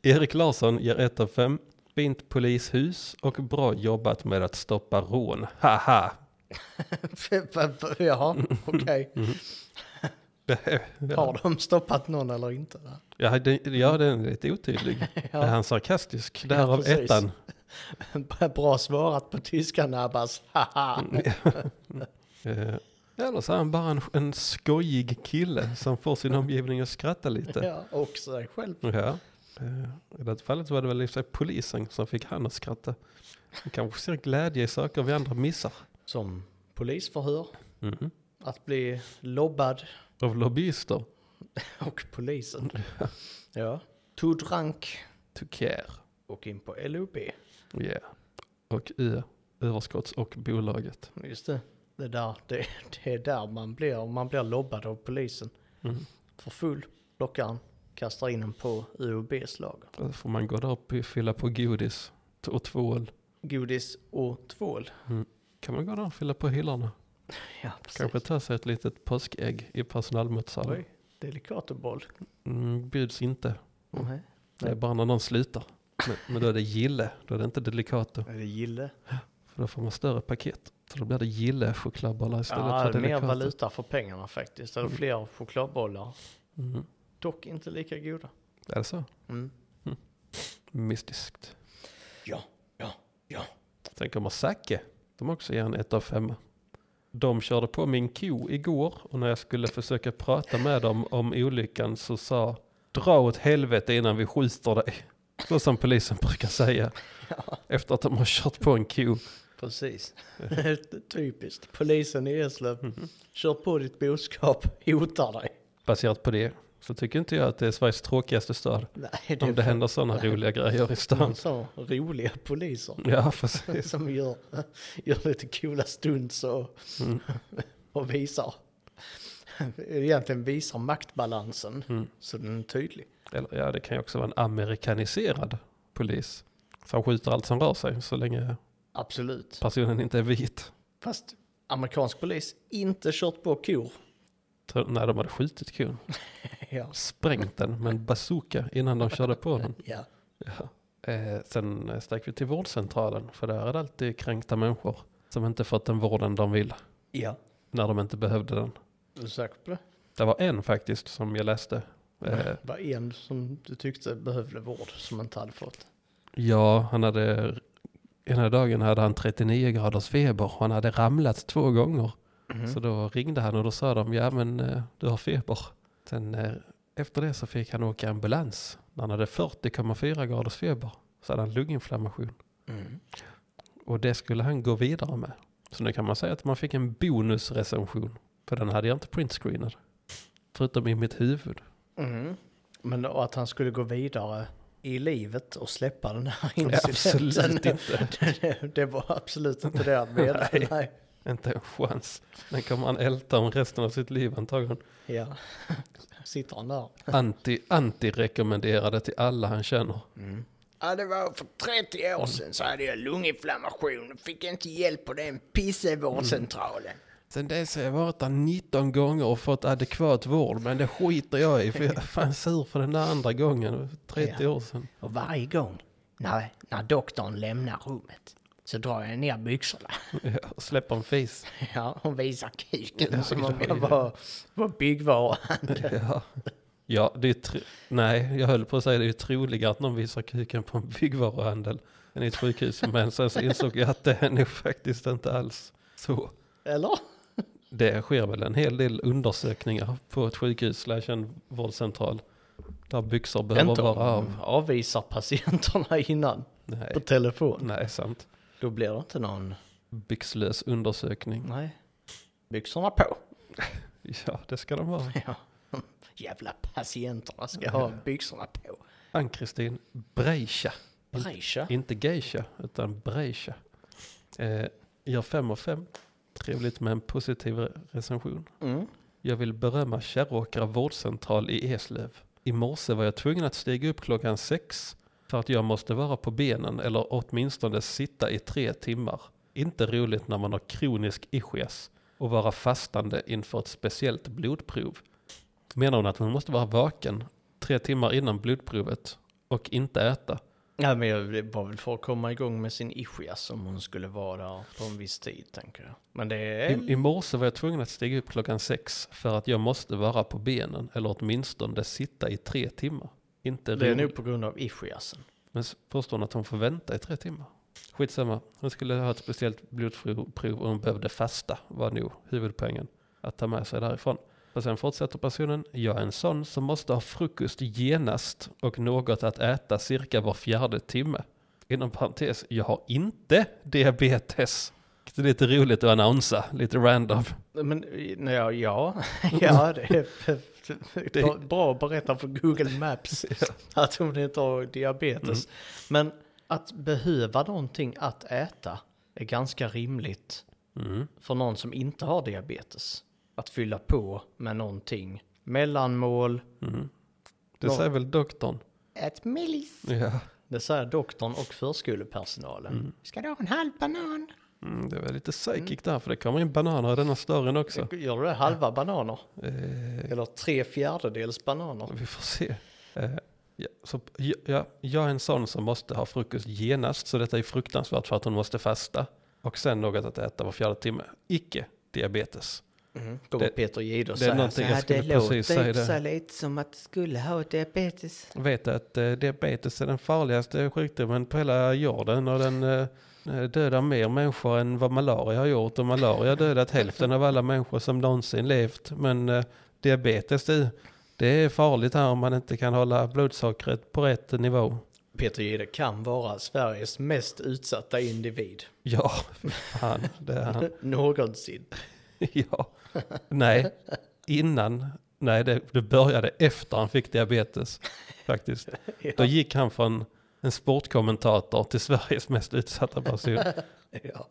Speaker 3: Erik Larsson ger 1 av 5. Fint polishus och bra jobbat med att stoppa rån. Haha!
Speaker 2: Jaha, okej.
Speaker 3: Ja,
Speaker 2: Har de stoppat någon eller inte? va?
Speaker 3: ja, det- ja, den är lite otydlig. Är han sarkastisk? Därav
Speaker 2: precis.
Speaker 3: ettan.
Speaker 2: Bra svarat på tyskan Abbas. Haha.
Speaker 3: Eh, Eller så är han bara en, en skojig kille som får sin omgivning att skratta lite.
Speaker 2: Ja, och sig själv.
Speaker 3: Ja. Eh, I det fallet var det väl i och för sig polisen som fick han att skratta. Han kanske ser glädje i saker vi andra missar.
Speaker 2: Som polisförhör, Mhm. att bli lobbad
Speaker 3: Av lobbyister.
Speaker 2: och polisen.
Speaker 3: Mm.
Speaker 2: Ja. Tudrank
Speaker 3: To care.
Speaker 2: och in på LOB.
Speaker 3: Yeah. Och Ö. Överskotts och bolaget.
Speaker 2: Just det. Det, där, det, det är där man blir, man blir lobbad av polisen.
Speaker 3: Mm.
Speaker 2: För full, plockar han, kastar in en på UOBs lager.
Speaker 3: Då Alltså, får man gå där och fylla på godis t- och tvål.
Speaker 2: Godis och tvål.
Speaker 3: Kan man gå där och fylla på hyllorna?
Speaker 2: Ja, precis.
Speaker 3: Kanske ta sig ett litet påskägg i personalmatsalen.
Speaker 2: Oj, Delicatoboll.
Speaker 3: Mm, bjuds inte.
Speaker 2: Nej.
Speaker 3: Det är bara när någon slutar. Men, men då är det gille. Då är det inte delicato.
Speaker 2: Är det gille?
Speaker 3: För då får man större paket. Så då blir det gille chokladbollar istället
Speaker 2: Ja, mer
Speaker 3: för delikata.
Speaker 2: valuta för pengarna faktiskt. Det är fler chokladbollar.
Speaker 3: Mm.
Speaker 2: Dock inte lika goda.
Speaker 3: Är det så?
Speaker 2: Mm.
Speaker 3: Mystiskt.
Speaker 2: Ja, ja, ja.
Speaker 3: Sen kommer Zacke. De också ger en 1 av 5. De körde på min ko igår och när jag skulle försöka prata med dem om olyckan så sa dra åt helvete innan vi skjuter dig. Så som polisen brukar säga. Efter att de har kört på en ko.
Speaker 2: Precis. Typiskt.
Speaker 3: Mhm.
Speaker 2: Polisen i Eslöv. Kör på ditt boskap, hotar dig.
Speaker 3: Baserat på det Så tycker inte jag att det är Sveriges tråkigaste stad.
Speaker 2: Nej, det
Speaker 3: Om det
Speaker 2: är Mm.
Speaker 3: händer sådana roliga grejer i stan.
Speaker 2: så roliga poliser
Speaker 3: Ja, precis.
Speaker 2: som gör, gör lite coola stunts och,
Speaker 3: Mm.
Speaker 2: och visar. Egentligen visar maktbalansen
Speaker 3: Mm.
Speaker 2: så den är tydlig.
Speaker 3: Eller ja, det kan ju också vara en amerikaniserad polis. Som skjuter allt som rör sig så länge
Speaker 2: Absolut.
Speaker 3: personen inte är vit.
Speaker 2: Fast amerikansk polis inte kört på kor.
Speaker 3: Tror- Nej, de hade skjutit kon.
Speaker 2: Ja.
Speaker 3: Sprängt den med en bazooka innan de körde på den.
Speaker 2: ja.
Speaker 3: Ja. Eh, sen eh, stack vi till vårdcentralen, för där är det alltid kränkta människor som inte fått den vården de vill,
Speaker 2: Ja.
Speaker 3: när de inte behövde den.
Speaker 2: Är du säker på det?
Speaker 3: Det var en faktiskt som jag läste. Eh,
Speaker 2: Det var en som du tyckte behövde vård som inte hade fått.
Speaker 3: ja, han hade, ena dagen hade han 39 graders feber och han hade ramlat två gånger.
Speaker 2: Mm.
Speaker 3: Så då ringde han och då sa de, ja men eh, du har feber. Sen eh, efter det så fick han åka ambulans. När han hade 40,4 graders feber så hade han lunginflammation.
Speaker 2: Mm.
Speaker 3: Och det skulle han gå vidare med. Så nu kan man säga att man fick en bonusrecension. För den hade jag inte printscreenad. Förutom i mitt huvud.
Speaker 2: Mm. Men och att han skulle gå vidare i livet och släppa den här incidenten.
Speaker 3: Absolut inte.
Speaker 2: det, det var absolut inte det han menade. Nej.
Speaker 3: Inte en chans. Den kommer han älta om resten av sitt liv antagligen.
Speaker 2: Ja. Sitter han där.
Speaker 3: Anti, anti-rekommenderade till alla han känner.
Speaker 4: Ja, det var för 30
Speaker 2: Mm.
Speaker 4: år sedan så hade jag lunginflammation och fick inte hjälp på den
Speaker 2: Mm.
Speaker 4: pissevårdcentralen.
Speaker 3: Sen dess har jag varit där 19 gånger och fått adekvat vård. Men det skiter jag i för jag är fan sur för den där andra gången. 30 år sedan.
Speaker 4: Och varje gång när, när doktorn lämnar rummet så drar jag ner byxorna.
Speaker 3: Jag släpper en fis.
Speaker 4: Ja, hon visar kuken.
Speaker 2: Som om jag var, var byggvara.
Speaker 3: Ja. ja, det är tr- Nej, jag höll på att säga det är ju troligare att någon visar kuken på en byggvaruhandel än i ett sjukhus. Men sen så insåg jag att det är nog faktiskt inte alls så.
Speaker 2: Eller?
Speaker 3: Det sker väl en hel del undersökningar på ett sjukhus slash en vårdcentral. Där byxor behöver
Speaker 2: inte
Speaker 3: vara
Speaker 2: om
Speaker 3: av.
Speaker 2: avvisar patienterna innan
Speaker 3: Nej,
Speaker 2: på telefon.
Speaker 3: nej sant.
Speaker 2: Då blir det inte någon...
Speaker 3: Byxlös undersökning.
Speaker 2: Nej. Byxorna på.
Speaker 3: Ja, det ska de vara.
Speaker 2: Ja. Jävla patienterna ska ha byxorna på.
Speaker 3: Ann-Kristin Breischa.
Speaker 2: Breisha.
Speaker 3: Inte geisha, utan breisha. Eh, gör fem av fem. Trevligt med en positiv re- recension.
Speaker 2: Mm.
Speaker 3: Jag vill berömma Kärråkra vårdcentral i Eslöv. I morse var jag tvungen att stiga upp klockan sex för att jag måste vara på benen eller åtminstone sitta i tre timmar. Inte roligt när man har kronisk ischias och vara fastande inför ett speciellt blodprov. Menar hon att hon måste vara vaken tre timmar innan blodprovet och inte äta?
Speaker 2: Ja, men jag det var väl för att komma igång med sin ischias om hon skulle vara där på en viss tid, tänker jag. Men det är...
Speaker 3: I, I morse var jag tvungen att stiga upp klockan sex för att jag måste vara på benen eller åtminstone sitta i tre timmar. Inte
Speaker 2: Det är
Speaker 3: roligt.
Speaker 2: nog på grund av ischiasen.
Speaker 3: Men s- påstår hon att hon får vänta i tre timmar? Skitsamma, hon skulle ha ett speciellt blodprov och hon behövde fasta var nog huvudpoängen att ta med sig därifrån. Och sen fortsätter personen, jag är en sån som måste ha frukost genast och något att äta cirka var fjärde timme. Inom parentes, jag har inte diabetes. Det är lite roligt att annonsa, lite random.
Speaker 2: Men nej, ja, ja, ja, det är det... bra att berätta för Google Maps att hon inte har diabetes.
Speaker 3: Mm.
Speaker 2: Men att behöva någonting att äta är ganska rimligt
Speaker 3: Mm.
Speaker 2: för någon som inte har diabetes. Att fylla på med någonting. Mellanmål,
Speaker 3: Mm. Det
Speaker 2: Ja.
Speaker 3: säger väl doktorn?
Speaker 4: Ett millis.
Speaker 3: Ja,
Speaker 2: det säger doktorn och förskolepersonalen.
Speaker 4: Ska du ha en halv banan?
Speaker 3: mm, det var lite psychic där för det kommer in bananer i denna större också.
Speaker 2: Gör du det halva bananer?
Speaker 3: Eh,
Speaker 2: Eller tre fjärdedels bananer?
Speaker 3: Vi får se. Eh, ja, så, ja, ja, jag är en sån som måste ha frukost genast, så detta är fruktansvärt för att hon måste fasta. Och sen något att äta var fjärde timme. Icke diabetes.
Speaker 2: Kommer
Speaker 3: Mm. Det-
Speaker 2: Peter Jihde och
Speaker 3: det är
Speaker 2: säga.
Speaker 3: någonting jag skulle precis säga
Speaker 4: inte så
Speaker 3: det.
Speaker 4: lite som att du skulle ha diabetes.
Speaker 3: Vet att eh, diabetes är den farligaste sjukdomen på hela jorden och den eh, dödar mer människor än vad malaria har gjort. Och malaria har dödat hälften av alla människor som någonsin levt. Men eh, diabetes, det, det är farligt här om man inte kan hålla blodsockret på rätt nivå.
Speaker 2: Peter Jihde kan vara Sveriges mest utsatta individ.
Speaker 3: Ja, fy fan, det är han.
Speaker 2: Någonsin.
Speaker 3: Ja, nej, innan Nej, det, det började efter han fick diabetes faktiskt.
Speaker 2: Ja.
Speaker 3: Då gick han från en sportkommentator till Sveriges mest utsatta person.
Speaker 2: Ja.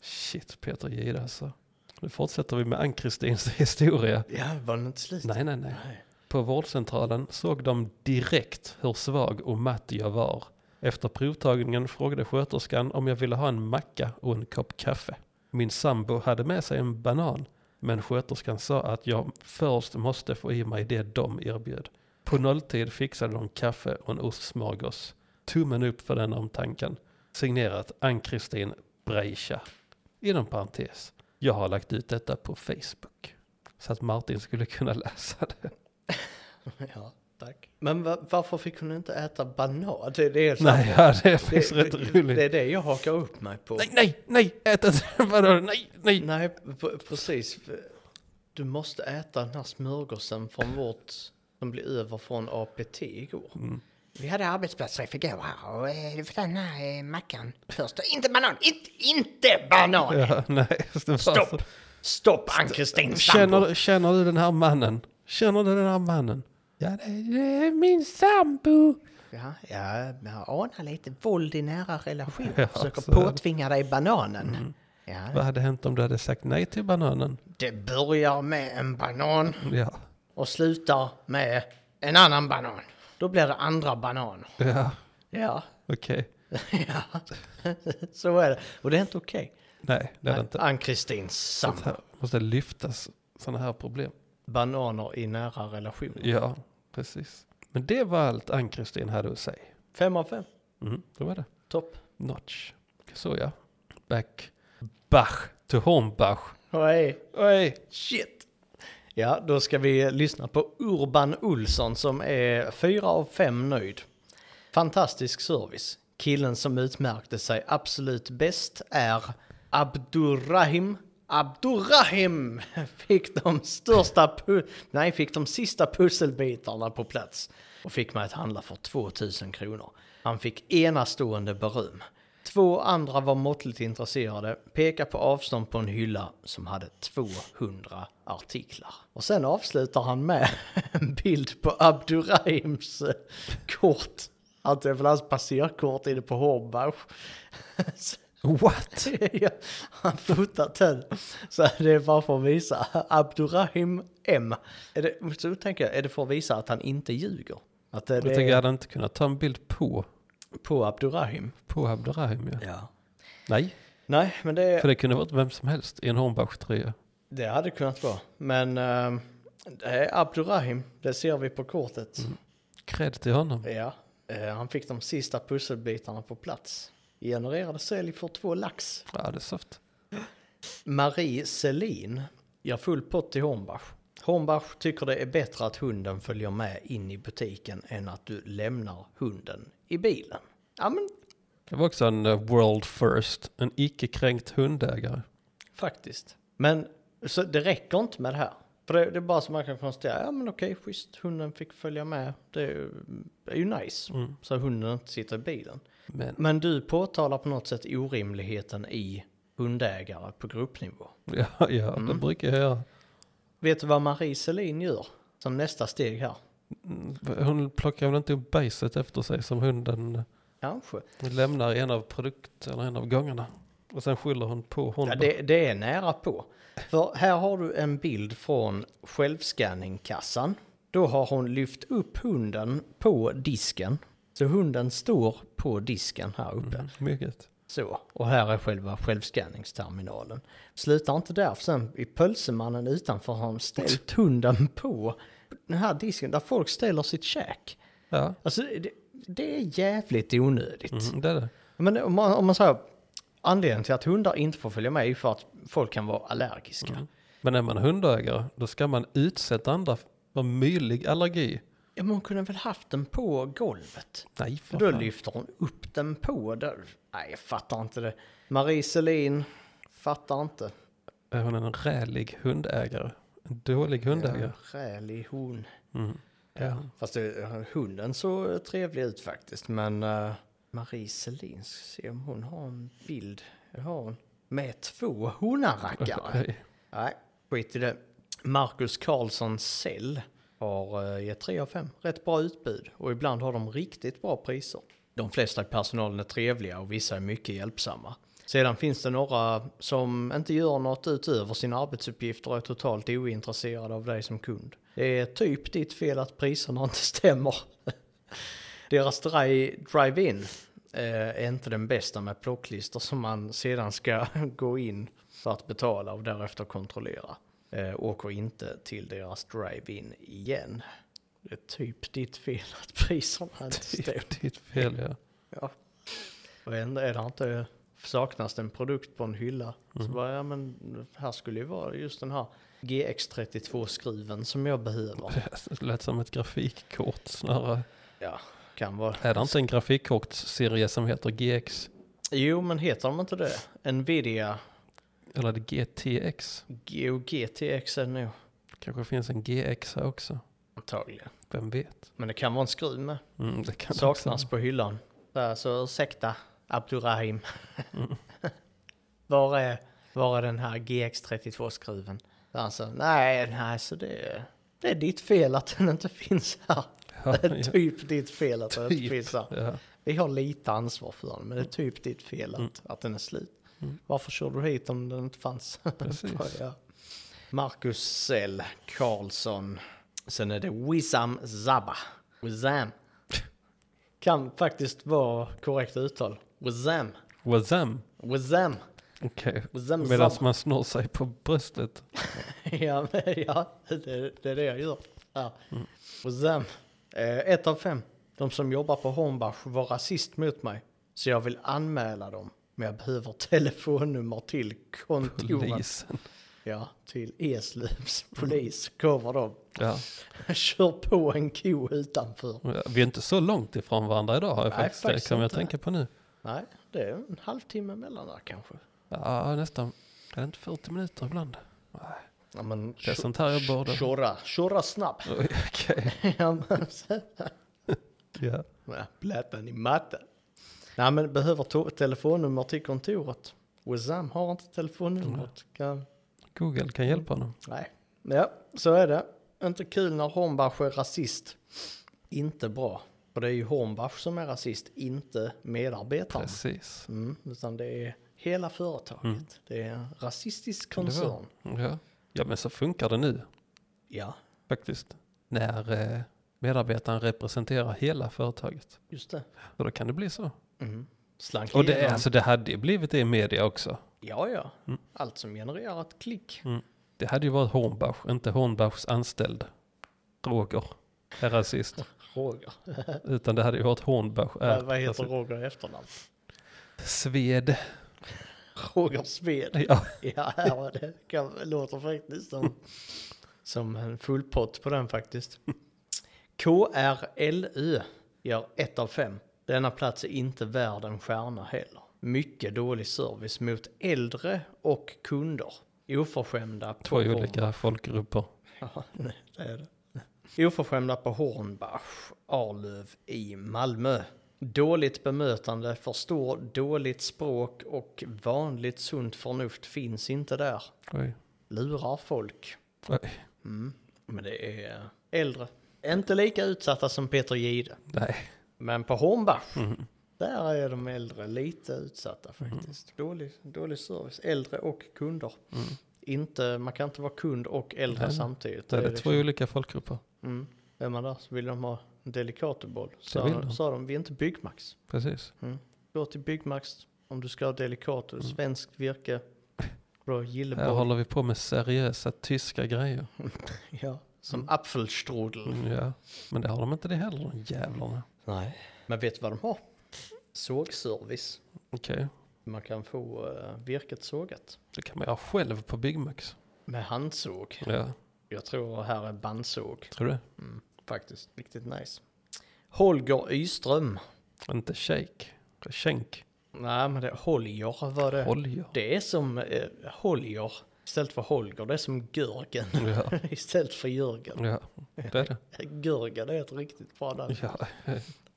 Speaker 3: Shit, Peter Jihde alltså. Nu fortsätter vi med Ann-Kristins historia.
Speaker 2: ja, var den inte slut?
Speaker 3: Nej, nej, nej. På vårdcentralen såg de direkt hur svag och matt jag var. Efter provtagningen frågade sköterskan om jag ville ha en macka och en kopp kaffe. Min sambo hade med sig en banan, men sköterskan sa att jag först måste få i mig det de erbjöd. På nolltid fixade de kaffe och en ostsmörgås. Tummen upp för den omtanken. Signerat Ann-Kristin Breischa. Inom parentes, jag har lagt ut detta på Facebook. Så att Martin skulle kunna läsa det.
Speaker 2: Ja, tack. Men va- varför fick hon inte äta banan? Det, det är så
Speaker 3: Nej, ja, det är faktiskt rätt roligt.
Speaker 2: Det är det jag hakar upp mig på.
Speaker 3: Nej, nej, nej, ät inte. Vadå, nej, nej.
Speaker 2: Nej, p- precis. Du måste äta den här smörgåsen från vårt, som blev över från APT igår.
Speaker 3: Mm.
Speaker 4: Vi hade arbetsplatsträff igår här och eh, du får ta den här eh, mackan först. Inte banan! Inte, inte banan!
Speaker 3: Ja, nej. det var så.
Speaker 4: Stopp! Stopp Ann-Kristin
Speaker 3: Känner,
Speaker 4: sambo!
Speaker 3: du- känner du den här mannen? Känner du den här mannen? Ja, det är, det är min sambo.
Speaker 4: Ja, ja, jag anar lite våld i nära relation. Försöker
Speaker 3: så Mm. är det.
Speaker 4: påtvinga dig bananen. Ja,
Speaker 3: Vad hade hänt om du hade sagt nej till bananen?
Speaker 4: det börjar med en banan
Speaker 3: Ja,
Speaker 4: och slutar med en annan banan. Då blir det andra bananer.
Speaker 3: ja,
Speaker 2: Ja,
Speaker 3: okej.
Speaker 2: ja. så är det. Och det är inte okej.
Speaker 3: Nej, det är det inte.
Speaker 2: Ann-Kristin Sam.
Speaker 3: Här måste lyftas sådana här problem.
Speaker 2: Bananer i nära relation.
Speaker 3: Ja, precis. Men det var allt Ann-Kristin hade att säga.
Speaker 2: Fem av fem.
Speaker 3: Mm, det var det.
Speaker 2: Topp.
Speaker 3: Notch. Så ja. Back. Bach. To Hornbach.
Speaker 2: Hej.
Speaker 3: Oj.
Speaker 2: Shit. Ja, då ska vi lyssna på Urban Olsson som är fyra av fem nöjd. Fantastisk service. Killen som utmärkte sig absolut bäst är Abdurrahim. Abdurrahim fick de största pu- nej, fick de sista pusselbitarna på plats och fick mig att handla för 2000 kronor. Han fick enastående beröm. Två andra var måttligt intresserade, pekade på avstånd på en hylla som hade 200 artiklar. Och sen avslutar han med en bild på Abdurrahims eh, kort. Att det är väl hans passerkort inne på Hornbach. Så-
Speaker 3: What?
Speaker 2: ja, han fotat den. Så det är bara för att visa. Abdurrahim M. Är det, så tänker jag, är det för att visa att han inte ljuger? Att det,
Speaker 3: Jag tänker jag
Speaker 2: är
Speaker 3: hade inte kunnat ta en bild på,
Speaker 2: på Abdurrahim?
Speaker 3: på Abderrahim. Ja.
Speaker 2: Ja.
Speaker 3: Nej,
Speaker 2: Nej, men det...
Speaker 3: för det kunde varit vem som helst i en Hornbach-tröja.
Speaker 2: Det hade kunnat vara. Men ehm, det är Abdurrahim, det ser vi på kortet.
Speaker 3: Mm. Cred till honom.
Speaker 2: Ja, eh, han fick de sista pusselbitarna på plats. Genererade sälj för två lax.
Speaker 3: Ja, det är soft.
Speaker 2: Marie Selin gör full pott till Hornbach. Hornbach tycker det är bättre att hunden följer med in i butiken än att du lämnar hunden i bilen. Ja men
Speaker 3: Det var också en eh, world first. En icke-kränkt hundägare.
Speaker 2: Faktiskt. Men så det räcker inte med det här. För det, det är bara så man kan konstatera, ja men okej, schysst, hunden fick följa med. Det är ju, är ju nice, så hunden inte sitter i bilen.
Speaker 3: Men
Speaker 2: Men du påtalar på något sätt orimligheten i hundägare på gruppnivå.
Speaker 3: ja, ja det brukar jag göra.
Speaker 2: Vet du vad Marie Selin gör som nästa steg här?
Speaker 3: Hon plockar väl inte upp bajset efter sig som hunden
Speaker 2: Kanske.
Speaker 3: lämnar i en av produkt eller en av gångarna. Och sen skyller hon på
Speaker 2: Ja,
Speaker 3: honom.
Speaker 2: det, det är nära på. För här har du en bild från självskanningkassan. Då har hon lyft upp hunden på disken. Så hunden står på disken här
Speaker 3: Mm.
Speaker 2: uppe.
Speaker 3: Mycket.
Speaker 2: Så, och här är själva självskanningsterminalen. Slutar inte där, för sen i pölsemannen utanför har hon ställt hunden på den här disken där folk ställer sitt käk.
Speaker 3: Ja,
Speaker 2: Alltså, det, det är jävligt onödigt.
Speaker 3: mm, det är det.
Speaker 2: Men om man, om man säger, anledningen till att hundar inte får följa med är ju för att folk kan vara allergiska.
Speaker 3: Men är man hundägare, då ska man utsätta andra för möjlig allergi.
Speaker 2: Ja, men hon kunde väl haft den på golvet?
Speaker 3: Nej,
Speaker 2: För
Speaker 3: för
Speaker 2: då
Speaker 3: fan.
Speaker 2: lyfter hon upp den på där. Nej, jag fattar inte det. Marie Selin, fattar inte.
Speaker 3: Är hon en rälig hundägare? En dålig hundägare?
Speaker 2: Rälig hon.
Speaker 3: Ja. ja.
Speaker 2: Fast det, hunden såg trevlig ut faktiskt, men eh, Marie Selin, ska se om hon har en bild. Det har hon. Med två honarackare.
Speaker 3: Okej.
Speaker 2: Nej, skit i det. Marcus Karlsson Sell har eh, gett 3 av 5. Rätt bra utbud och ibland har de riktigt bra priser. De flesta i personalen är trevliga och vissa är mycket hjälpsamma. Sedan finns det några som inte gör något utöver sina arbetsuppgifter och är totalt ointresserade av dig som kund. Det är typ ditt fel att priserna inte stämmer. Deras dri- drive-in eh, är inte den bästa med plocklistor som man sedan ska gå in för att betala och därefter kontrollera. Eh, åker inte till deras drive-in igen. Det är typ ditt fel att priserna inte
Speaker 3: Det
Speaker 2: stämmer.
Speaker 3: är ditt fel ja.
Speaker 2: Ja. Och ändå är det inte, saknas det en produkt på en hylla så bara, ja men här skulle ju vara just den här GX32-skruven som jag behöver.
Speaker 3: Det lät som ett grafikkort snarare.
Speaker 2: Ja, kan vara.
Speaker 3: Är det inte en grafikkortsserie som heter GX?
Speaker 2: Jo, men heter de inte det? Nvidia
Speaker 3: Eller är det GTX?
Speaker 2: GOGTX är det nog
Speaker 3: Kanske finns en GX här också.
Speaker 2: antagligen.
Speaker 3: Vem vet?
Speaker 2: Men det kan vara en skruv med.
Speaker 3: Mm, det kan
Speaker 2: Saknas
Speaker 3: också-
Speaker 2: på hyllan. Så alltså, ursäkta, Abdurrahim.
Speaker 3: Mm.
Speaker 2: var, är, var är den här GX32-skruven? Alltså, nej, nej, så det är, det är ditt fel att den inte finns här.
Speaker 3: Ja,
Speaker 2: Det är
Speaker 3: ja,
Speaker 2: typ ditt fel att den inte
Speaker 3: typ.
Speaker 2: finns här.
Speaker 3: Ja.
Speaker 2: Vi har lite ansvar för den, men det är typ ditt fel att, att den är slut. Varför körde du hit om den inte fanns?
Speaker 3: Precis.
Speaker 2: ja. Marcus Sell Karlsson. Sen är det Wissam Zabba. Wissam. Kan faktiskt vara korrekt uttal. Wissam.
Speaker 3: Wazam.
Speaker 2: Wissam.
Speaker 3: Okej.
Speaker 2: Wissam
Speaker 3: Medan
Speaker 2: Zabba.
Speaker 3: man snor sig på bröstet.
Speaker 2: ja, men, ja det, det är det jag gör. Ja. Wissam. Eh, ett av fem. De som jobbar på Hornbach var rasist mot mig. Så jag vill anmäla dem. Men jag behöver telefonnummer till kontoret.
Speaker 3: Polisen.
Speaker 2: Ja, till Eslövs polis. Cover dem.
Speaker 3: Ja.
Speaker 2: Kör på en ko utanför.
Speaker 3: Vi är inte så långt ifrån varandra idag har jag
Speaker 2: Nej,
Speaker 3: faktiskt.
Speaker 2: faktiskt
Speaker 3: Det kan jag
Speaker 2: inte.
Speaker 3: tänka på nu.
Speaker 2: Nej, det är en halvtimme mellan där kanske.
Speaker 3: Ja, nästan. Är det inte 40 minuter ibland? Nej.
Speaker 2: Ja, men
Speaker 3: Det är sånt här jag borde...
Speaker 2: Köra, köra snabbt.
Speaker 3: Oj, Okej.
Speaker 2: Ja, men så-
Speaker 3: Ja.
Speaker 2: Ja, Plattan i matte. Nej, men behöver to- telefonnummer till kontoret. Wissam har inte telefonnumret. Kan...
Speaker 3: Google kan hjälpa honom.
Speaker 2: Nej. Ja, så är det. Inte kul när Hornbach är rasist. Inte bra. För det är ju Hornbach som är rasist, inte medarbetaren.
Speaker 3: Precis. Mm.
Speaker 2: Mm, utan det är hela företaget. Det är en rasistisk
Speaker 3: det vara?
Speaker 2: koncern.
Speaker 3: Ja. ja, men så funkar det nu
Speaker 2: Ja,
Speaker 3: faktiskt. När eh, medarbetaren representerar hela företaget.
Speaker 2: just det.
Speaker 3: Så då kan det bli så.
Speaker 2: Mm. Slank
Speaker 3: Och det,
Speaker 2: igenom.
Speaker 3: alltså, det hade ju blivit det i media också.
Speaker 2: Ja, ja.
Speaker 3: Mm.
Speaker 2: Allt som genererar ett klick.
Speaker 3: Det hade ju varit Hornbach, inte Hornbachs anställd. Roger är rasist.
Speaker 2: Roger.
Speaker 3: Utan det hade ju varit Hornbach är
Speaker 2: Vad- Vad heter
Speaker 3: rasist.
Speaker 2: Roger i efternamn?
Speaker 3: Sved.
Speaker 2: Roger Sved.
Speaker 3: Ja,
Speaker 2: Ja, ja det kan, låter faktiskt som, som en full pott på den faktiskt. KRLU gör ett av fem. Denna plats är inte värd en stjärna heller. Mycket dålig service mot äldre och kunder. Oförskämda på
Speaker 3: två olika folkgrupper.
Speaker 2: Ja, nej, det är det. Oförskämda på Hornbach, Arlöv i Malmö. Dåligt bemötande, förstår dåligt språk och vanligt sunt förnuft finns inte där.
Speaker 3: Oj.
Speaker 2: Lurar folk.
Speaker 3: Oj. Mm.
Speaker 2: Men det är äldre. Inte lika utsatta som Peter Gide.
Speaker 3: Nej,
Speaker 2: Men på Hornbach,
Speaker 3: Mm.
Speaker 2: där är de äldre lite utsatta faktiskt. Dålig, dålig service, äldre och kunder. Inte, man kan inte vara kund och äldre
Speaker 3: Mm. Nej.
Speaker 2: samtidigt.
Speaker 3: det är det
Speaker 2: liksom-
Speaker 3: två olika folkgrupper.
Speaker 2: Mm. Är man där så vill de ha en delicatoboll.
Speaker 3: vill
Speaker 2: Så
Speaker 3: de.
Speaker 2: sa de, vi är inte Byggmax.
Speaker 3: Precis.
Speaker 2: Gå till Byggmax om du ska ha delicato,
Speaker 3: Mm.
Speaker 2: svenskt virke, bra
Speaker 3: Här
Speaker 2: gilleboll.
Speaker 3: håller vi på med seriösa tyska grejer.
Speaker 2: Ja, som apfelstrudel.
Speaker 3: Mm, ja. Men det har de inte det heller, de jävlarna.
Speaker 2: Nej. Men vet du vad de har? Sågservice.
Speaker 3: Okej,
Speaker 2: Man kan få eh, virket sågat
Speaker 3: det kan man göra själv på Big Macs.
Speaker 2: med handsåg.
Speaker 3: Ja,
Speaker 2: Jag tror här är bandsåg
Speaker 3: tror du?
Speaker 2: faktiskt. Riktigt nice. Holger Yström.
Speaker 3: Inte shake, skänk.
Speaker 2: Nej, men det Holger var det.
Speaker 3: Olja.
Speaker 2: Det är som eh, Holger istället för Holger, det är som Görgen
Speaker 3: Ja.
Speaker 2: istället för Jörgen.
Speaker 3: ja, det är det.
Speaker 2: Görgen är ett riktigt bra namn.
Speaker 3: Ja.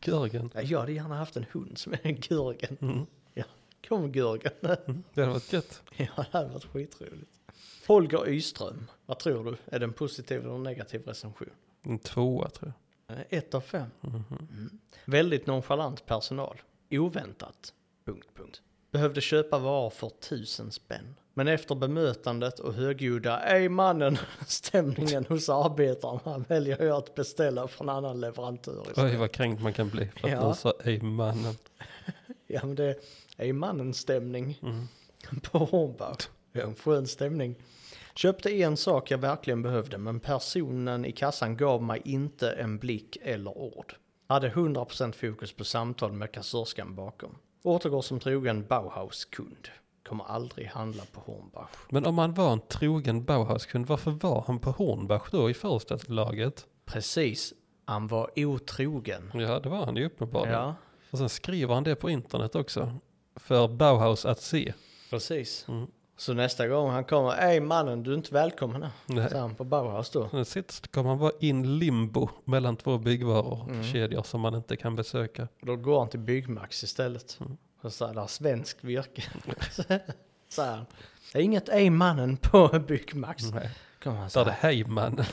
Speaker 3: Görgen,
Speaker 2: Ja. Jag hade gärna haft en hund som är en Görgen. Ja. Kom Görgen.
Speaker 3: det hade varit gött.
Speaker 2: Ja, det hade varit skitroligt. Holger Yström, vad tror du? Är det en positiv eller en negativ recension?
Speaker 3: En tvåa tror jag.
Speaker 2: Eh, Ett av fem.
Speaker 3: Mhm.
Speaker 2: Mm. Väldigt nonchalant personal. Oväntat. Punkt, punkt. Behövde köpa varor för tusen spänn. Men efter bemötandet och högljudda ej mannen stämningen hos arbetarna väljer jag att beställa från annan leverantör istället.
Speaker 3: Oj vad kränkt man kan bli för att
Speaker 2: Ja.
Speaker 3: du sa ej mannen.
Speaker 2: Ja men det är ej mannen stämning
Speaker 3: Mm.
Speaker 2: på Hornbach. Det är en skön stämning. Köpte en sak jag verkligen behövde men personen i kassan gav mig inte en blick eller ord. Hade 100% fokus på samtal med kassörskan bakom. Återgår som trogen Bauhaus-kund. Kommer aldrig handla på Hornbach.
Speaker 3: Men om han var en trogen Bauhauskund, varför var han på Hornbach då i första laget?
Speaker 2: Precis, han var otrogen.
Speaker 3: Ja, det var han ju uppenbarligen.
Speaker 2: Ja,
Speaker 3: Och sen skriver han det på internet också. För Bauhaus att se.
Speaker 2: precis. Så nästa gång han kommer, ej mannen du är inte välkommen här.
Speaker 3: Nej.
Speaker 2: Så han på Bauhaus då.
Speaker 3: Sist kommer han vara in limbo mellan två byggvarukedjor som man inte kan besöka.
Speaker 2: Då går han till Byggmax istället. Och så här, där, svensk virke. så här. Det är inget ej mannen på Byggmax.
Speaker 3: Nej.
Speaker 2: Kommer han
Speaker 3: Där
Speaker 2: så
Speaker 3: är det
Speaker 2: här.
Speaker 3: hejmannen.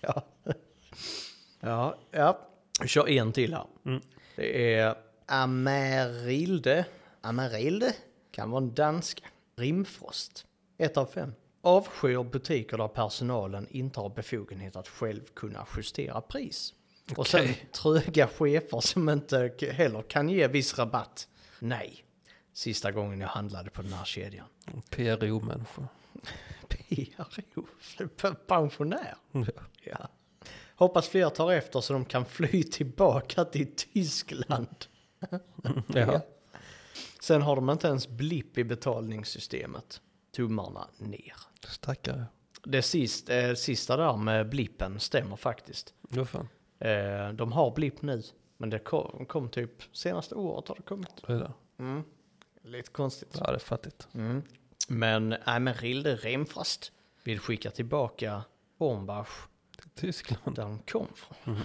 Speaker 2: Ja. ja, ja. Vi kör en till här. Det är Amarilde. Amarilde? Kan vara en dansk. Rimfrost. Ett av fem. Avskyr butiker där personalen inte har befogenhet att själv kunna justera pris. Och sen
Speaker 3: Okej.
Speaker 2: tröga chefer som inte k- heller kan ge viss rabatt. Nej. Sista gången jag handlade på den här kedjan.
Speaker 3: PRO-människor.
Speaker 2: PRO, pensionär.
Speaker 3: Ja.
Speaker 2: Ja. Hoppas fler tar efter så de kan fly tillbaka till Tyskland.
Speaker 3: Ja.
Speaker 2: Sen har de inte ens blipp i betalningssystemet. Tummarna ner.
Speaker 3: Stackare.
Speaker 2: Det sist, eh, sista där med blippen stämmer faktiskt.
Speaker 3: Vad fan.
Speaker 2: Eh, de har blipp nu, men det kom, kom typ senaste året har det kommit.
Speaker 3: Vad är det?
Speaker 2: Lite konstigt.
Speaker 3: Ja, det är fattigt.
Speaker 2: Men Amarilde Remfast vill skicka tillbaka Hornbach
Speaker 3: Till Tyskland.
Speaker 2: där de kom från.
Speaker 3: Mhm.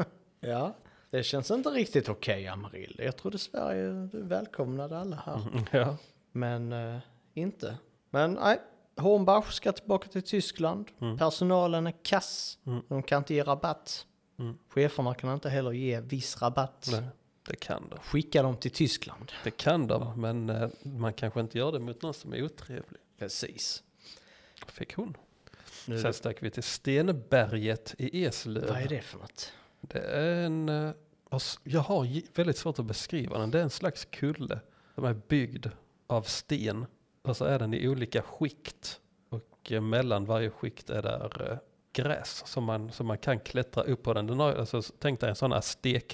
Speaker 2: ja, det känns inte riktigt okej Amarilde. Jag trodde Sverige välkomnade alla här.
Speaker 3: Ja.
Speaker 2: Men eh, inte. Men nej, Hornbach ska tillbaka till Tyskland.
Speaker 3: Mm.
Speaker 2: Personalen är kass. De kan inte ge rabatt. Cheferna kan inte heller ge viss rabatt.
Speaker 3: Mm. Nej. Det kan de.
Speaker 2: Skicka dem till Tyskland.
Speaker 3: Det kan de, men eh, man kanske inte gör det mot någon som är otrevlig.
Speaker 2: Precis.
Speaker 3: Fick hon.
Speaker 2: Nu,
Speaker 3: Sen eh, stack vi till Stenberget i Eslöv.
Speaker 2: vad är det för något?
Speaker 3: Det är en... eh, oss- Jag har j- väldigt svårt att beskriva den. Det är en slags kulle som är byggd av sten. Och så är den i olika skikt. Och eh, mellan varje skikt är där eh, gräs som man, som man kan klättra upp på den. den har, alltså, s- tänk dig en sån här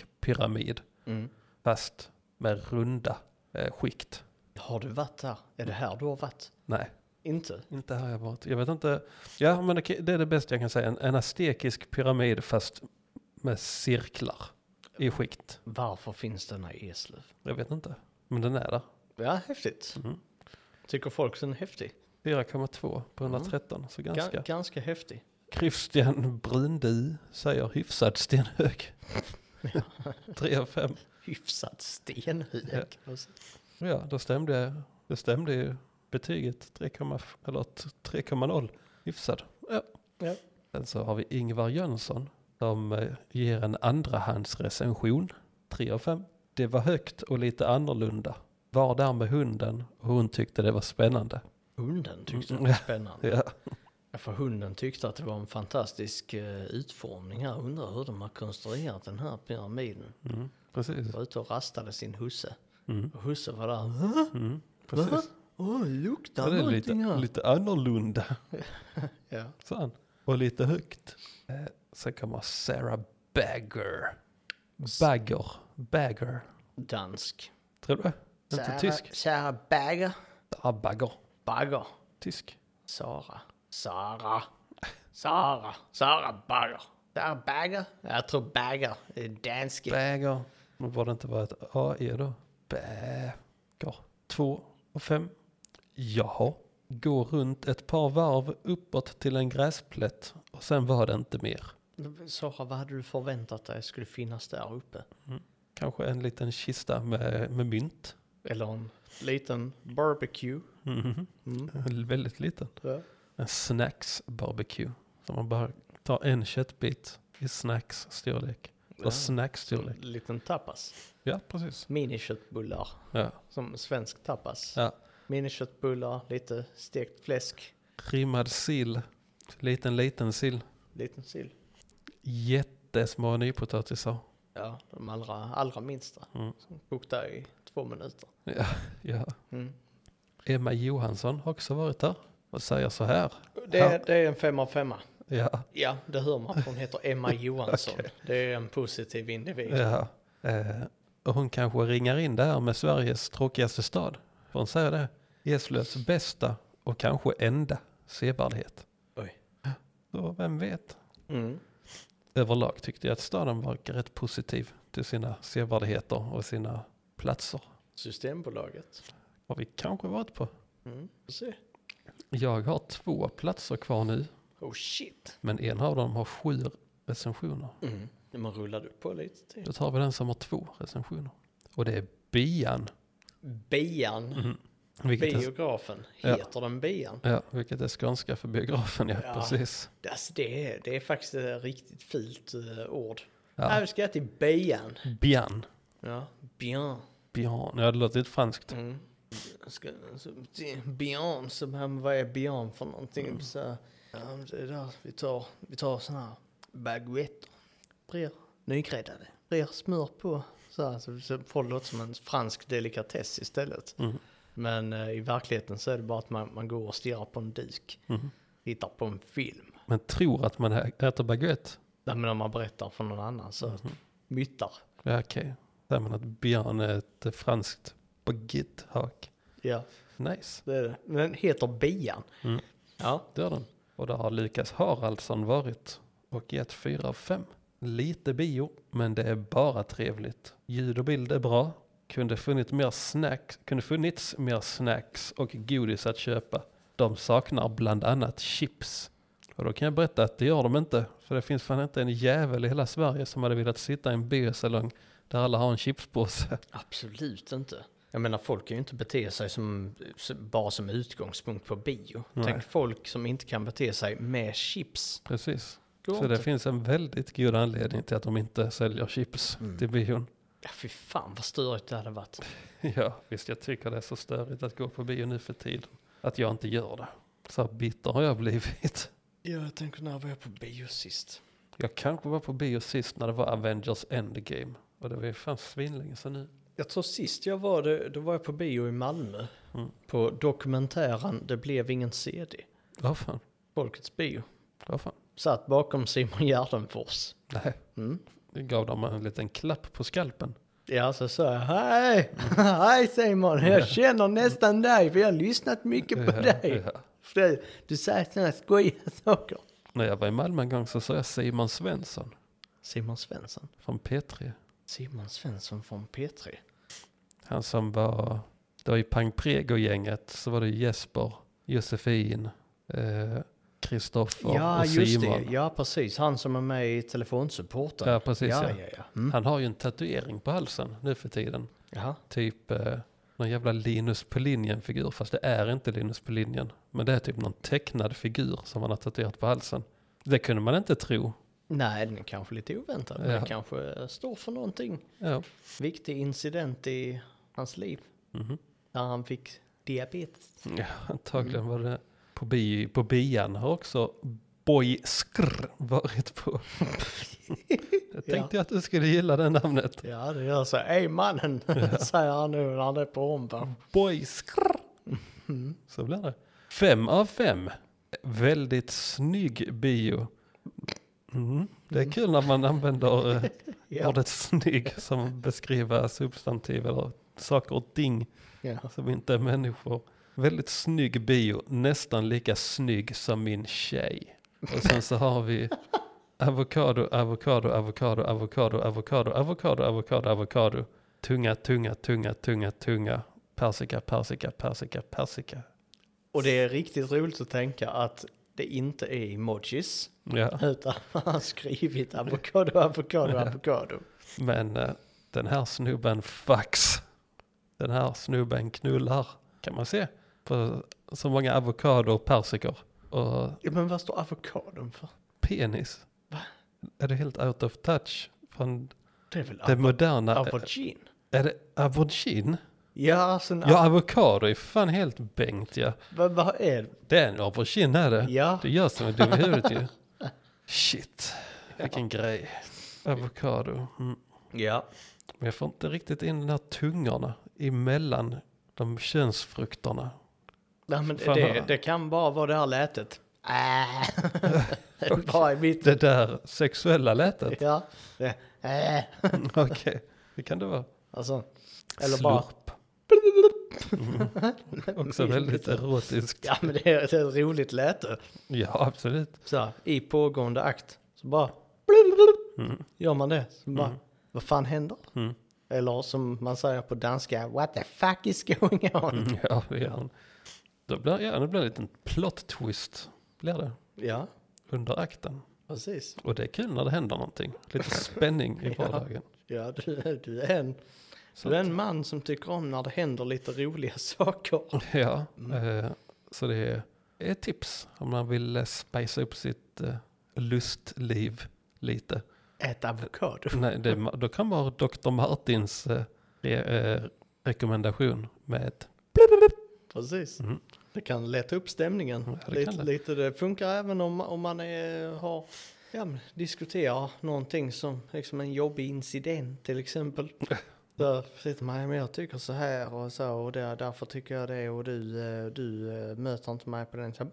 Speaker 3: stekpyramid.
Speaker 2: Mm.
Speaker 3: Fast med runda eh, skikt.
Speaker 2: Har du varit där? Är det här du har varit?
Speaker 3: Nej,
Speaker 2: Inte?
Speaker 3: inte här jag varit. Jag vet inte. Ja, men det det är det bästa jag kan säga. En, en astekisk pyramid fast med cirklar i skikt.
Speaker 2: Varför finns denna i Eslöv?
Speaker 3: Jag vet inte. Men den är där.
Speaker 2: Ja, häftigt.
Speaker 3: Mm.
Speaker 2: Tycker folk den är häftig?
Speaker 3: 4,2 på 113. Så ganska.
Speaker 2: Ganska. Ganska häftig.
Speaker 3: Christian Brundy säger hyfsad stenhög. 3 av 5.
Speaker 2: Hyfsat stenhög.
Speaker 3: Ja. Ja, då stämde, jag- då stämde ju betyget 3,0. eller t- 3,0. Hyfsad. Ja.
Speaker 2: Ja.
Speaker 3: Sen så har vi Ingvar Jönsson som eh, ger en andrahandsrecension. 3 av 5. Det var högt och lite annorlunda. Var där med hunden och hon tyckte det var spännande.
Speaker 2: Hunden tyckte det var spännande.
Speaker 3: Mm. Ja.
Speaker 2: Ja, för hunden tyckte att det var en fantastisk eh, utformning här. Undrar hur de har konstruerat den här pyramiden.
Speaker 3: Mm, precis.
Speaker 2: Var ute och rastade sin husse.
Speaker 3: Mm.
Speaker 2: Och husse var där. "Hä?
Speaker 3: Mm, precis.
Speaker 2: Åh, det
Speaker 3: Ja,
Speaker 2: luktar
Speaker 3: det är lite,
Speaker 2: någonting här.
Speaker 3: lite annorlunda,
Speaker 2: Ja.
Speaker 3: sa han. Och lite högt. Eh, sen kommer Sarah Bagger. Bagger. Bagger.
Speaker 2: Dansk.
Speaker 3: Tror du det? Inte tysk?
Speaker 2: Sara Bagger.
Speaker 3: Sarah Bagger.
Speaker 2: Bagger.
Speaker 3: Tysk.
Speaker 2: Sara. Sara. Sara. Sara Bagger. Sara Bagger. Jag tror Bagger är dansk.
Speaker 3: Bagger. Men borde det inte vara ett AE då? Bagger. Två och fem. Jaha. Gå runt ett par varv uppåt till en gräsplätt och sen var det inte mer.
Speaker 2: Sara, vad hade du förväntat dig skulle finnas där uppe?
Speaker 3: Kanske en liten kista med, med mynt.
Speaker 2: Eller en liten barbecue.
Speaker 3: Mhm.
Speaker 2: Mm.
Speaker 3: En Väldigt liten.
Speaker 2: Ja.
Speaker 3: En snacks barbecue. Så man bara tar en köttbit i snacks storlek. Eller
Speaker 2: Ja.
Speaker 3: snacks storlek.
Speaker 2: Liten tapas.
Speaker 3: Ja, precis.
Speaker 2: Miniköttbullar.
Speaker 3: Ja.
Speaker 2: Som svensk tapas.
Speaker 3: Ja.
Speaker 2: Miniköttbullar, lite stekt fläsk,
Speaker 3: Trimmad sill. Liten, liten sill.
Speaker 2: liten sill.
Speaker 3: Jättesmå nypotatisar.
Speaker 2: Ja, de allra, allra minsta.
Speaker 3: Mm.
Speaker 2: Som kokta i två minuter.
Speaker 3: Ja.
Speaker 2: Mm.
Speaker 3: Emma Johansson har också varit där och säger så här.
Speaker 2: Det,
Speaker 3: Ja.
Speaker 2: det är en femma av femma.
Speaker 3: Ja,
Speaker 2: Ja, det hör man. Hon heter Emma Johansson. Det är en positiv individ.
Speaker 3: ja. Eh, och hon kanske ringar in det här med Sveriges tråkigaste stad. Får hon säga det? Eslövs bästa och kanske enda sevärdhet.
Speaker 2: Oj.
Speaker 3: Så vem vet?
Speaker 2: Mm.
Speaker 3: Överlag tyckte jag att staden verkar rätt positiv till sina sevärdheter och sina platser.
Speaker 2: Systembolaget.
Speaker 3: Har vi kanske varit på.
Speaker 2: Mm. Får Se.
Speaker 3: Jag har två platser kvar nu,
Speaker 2: Oh shit.
Speaker 3: men en av dem har sju recensioner.
Speaker 2: Mm. Man rullade upp på lite till.
Speaker 3: Då tar vi den som har två recensioner. Och det är Bian.
Speaker 2: Bian.
Speaker 3: Mhm, Vilket är,
Speaker 2: Biografen.
Speaker 3: Ja.
Speaker 2: Heter den Bian?
Speaker 3: ja, vilket är skånska för biografen, ja,
Speaker 2: Ja.
Speaker 3: precis.
Speaker 2: Alltså det, är- det är faktiskt ett riktigt fult eh, ord.
Speaker 3: Ja.
Speaker 2: Här ska jag till Bian.
Speaker 3: Bian.
Speaker 2: Ja, Bian.
Speaker 3: Bian, ja det låter lite franskt.
Speaker 2: Mm. Jag Ska, alltså, så, till Bian, så, men vad är Bian för någonting? Så, Mm. ja, men det är där vi tar, vi tar såna här baguetter. Brer nygräddade. Brer smör på. Så, här, så, så får det låta som en fransk delikatess istället.
Speaker 3: Mm.
Speaker 2: Men eh, i verkligheten så är det bara att man, man går och stirrar på en duk.
Speaker 3: Mhm.
Speaker 2: Tittar på en film.
Speaker 3: Man tror att man ä- äter baguette.
Speaker 2: Nej, men om man berättar för någon annan så
Speaker 3: Mm.
Speaker 2: myttar.
Speaker 3: Ja, okej. Säger man att Bian är ett franskt baguettehak.
Speaker 2: Ja,
Speaker 3: Nice,
Speaker 2: det är det. Men den heter Bian.
Speaker 3: Mm.
Speaker 2: Ja.
Speaker 3: det gör den. Och där har Lukas Haraldsson varit och gett fyra av fem. Lite bio, men det är bara trevligt. Ljud och bild är bra. Kunde funnits mer snacks, kunde funnits mer snacks och godis att köpa. De saknar bland annat chips. Och då kan jag berätta att det gör de inte. För det finns fan inte en jävel i hela Sverige som hade velat sitta i en biosalong där alla har en chipspåse.
Speaker 2: Absolut inte. Jag menar folk kan ju inte bete sig som, bara som utgångspunkt på bio.
Speaker 3: Nej.
Speaker 2: Tänk folk som inte kan bete sig med chips.
Speaker 3: Precis.
Speaker 2: Går
Speaker 3: Så det
Speaker 2: inte.
Speaker 3: finns en väldigt god anledning till att de inte säljer chips
Speaker 2: Mm.
Speaker 3: till bion.
Speaker 2: Ja, fy fan vad störigt det hade varit.
Speaker 3: Ja, visst jag tycker det är så störigt att gå på bio nu för tiden. Att jag inte gör det. Så här bitter har jag blivit.
Speaker 2: Ja, jag tänker när var jag på bio sist?
Speaker 3: Jag kanske var på bio sist när det var Avengers Endgame. Och det var ju fan svinlänge sedan nu.
Speaker 2: Jag tror sist jag var det, då var jag på bio i Malmö.
Speaker 3: Mm.
Speaker 2: På dokumentären Det blev ingen CD.
Speaker 3: Ja fan,
Speaker 2: Folkets bio.
Speaker 3: ja fan.
Speaker 2: Satt bakom Simon Gärdenfors.
Speaker 3: Nej,
Speaker 2: Mm.
Speaker 3: det gav dem en liten klapp på skalpen.
Speaker 2: Ja, så sa jag hej, hej Simon, jag känner nästan dig för jag har lyssnat mycket på dig.
Speaker 3: Ja.
Speaker 2: För det- du säger sådana skojiga saker.
Speaker 3: När jag var i Malmö en gång så såg jag Simon Svensson
Speaker 2: Simon Svensson.
Speaker 3: från P3.
Speaker 2: Simon Svensson från P3.
Speaker 3: Han som var, det var ju Pang Prego-gänget, så var det Jesper, Josefin, eh, Kristoffer
Speaker 2: Ja,
Speaker 3: och
Speaker 2: just
Speaker 3: Simon.
Speaker 2: det. Ja, precis. Han som är med i telefonsupporten.
Speaker 3: Ja, precis,
Speaker 2: Ja,
Speaker 3: ja.
Speaker 2: ja, ja. Mm.
Speaker 3: Han har ju en tatuering på halsen nu för tiden.
Speaker 2: Jaha.
Speaker 3: Typ eh, någon jävla Linus på linjen-figur, fast det är inte Linus på linjen. Men det är typ någon tecknad figur som han har tatuerat på halsen. Det kunde man inte tro.
Speaker 2: Nej, den är kanske lite oväntad. men
Speaker 3: Ja.
Speaker 2: Den kanske står för någonting.
Speaker 3: Ja.
Speaker 2: Viktig incident i hans liv.
Speaker 3: Mhm.
Speaker 2: När han fick diabetes.
Speaker 3: Ja, antagligen var det på, bi, på bian har också Boy Skrr varit på. jag tänkte att du skulle gilla det namnet.
Speaker 2: Ja, det gör så. Ey mannen, säger han nu när han är på omväg.
Speaker 3: Boy Skrr.
Speaker 2: Mm.
Speaker 3: Så blir det. Fem av fem. Väldigt snygg bio. Mm. Det är kul när man använder eh,
Speaker 2: Ja.
Speaker 3: ordet snygg som att beskriva substantiv eller saker och ting.
Speaker 2: Ja.
Speaker 3: som inte är människor. Väldigt snygg bio, nästan lika snygg som min tjej. Och sen så har vi avokado, avokado, avokado, avokado, avokado, avokado, avokado, avokado. Tunga, tunga, tunga, tunga, tunga. Persika, persika, persika, persika.
Speaker 2: Och det är riktigt roligt att tänka att det inte är emojis.
Speaker 3: Ja,
Speaker 2: Utan han har skrivit avokado, avokado, avokado.
Speaker 3: men eh, den här snubben fax. Den här snubben knullar, kan man se. På så många avokado och persikor. Och
Speaker 2: Ja, men vad står avokadon för?
Speaker 3: penis. Är det helt out of touch från
Speaker 2: Det är väl
Speaker 3: det
Speaker 2: av-
Speaker 3: moderna?
Speaker 2: aubergine?
Speaker 3: Är det aubergine?
Speaker 2: Ja, alltså en,
Speaker 3: Ja, avokado är fan helt bängt ja.
Speaker 2: vad, vad är det?
Speaker 3: Det är en aubergine är det.
Speaker 2: Ja.
Speaker 3: Du gör som en dum i huvudet ju. Shit, vilken grej. Avokado. Mm.
Speaker 2: Ja.
Speaker 3: Men jag får inte riktigt in den här tungorna emellan de könsfrukterna.
Speaker 2: Nej, men det,
Speaker 3: Fan,
Speaker 2: det,
Speaker 3: vad-
Speaker 2: det kan bara vara det här lätet. Äh. Det är bara i mitt...
Speaker 3: Det där sexuella lätet. Mm,
Speaker 2: Ja. Det, äh.
Speaker 3: Okej, det kan det vara.
Speaker 2: Alltså. Eller bara...
Speaker 3: Slurp. Mm. Också väldigt erotiskt.
Speaker 2: Ja, men det är det är ett roligt läte.
Speaker 3: Ja, absolut.
Speaker 2: Så här, i pågående akt. Så bara... Gör man det. Så bara, Vad fan händer? Eller som man säger på danska, what the fuck is going on?
Speaker 3: Mm, Ja, det gör han. Då blir, ja, det blir en liten plot twist. Blir det.
Speaker 2: Ja,
Speaker 3: Under akten.
Speaker 2: precis.
Speaker 3: Och det är kul när det händer någonting. Lite spänning i vardagen.
Speaker 2: Ja, du, du, är en,
Speaker 3: Så
Speaker 2: du är en man som tycker om när det händer lite roliga saker.
Speaker 3: Ja, eh, så det är ett tips om man vill eh, spicea upp sitt eh, lustliv lite.
Speaker 2: Ät avokado.
Speaker 3: Nej, det, då kan man ha Dr. Martins eh, re, eh, rekommendation med ett
Speaker 2: Precis.
Speaker 3: Mm.
Speaker 2: Det kan lätta upp stämningen.
Speaker 3: Ja, det
Speaker 2: lite,
Speaker 3: kan det.
Speaker 2: lite det funkar även om, om man är, har, ja, men, diskuterar någonting som liksom en jobbig incident till exempel. Där sitter man, "Ja, men jag tycker så här och så och där, därför tycker jag det och du, eh, du eh, möter inte mig på den. Så,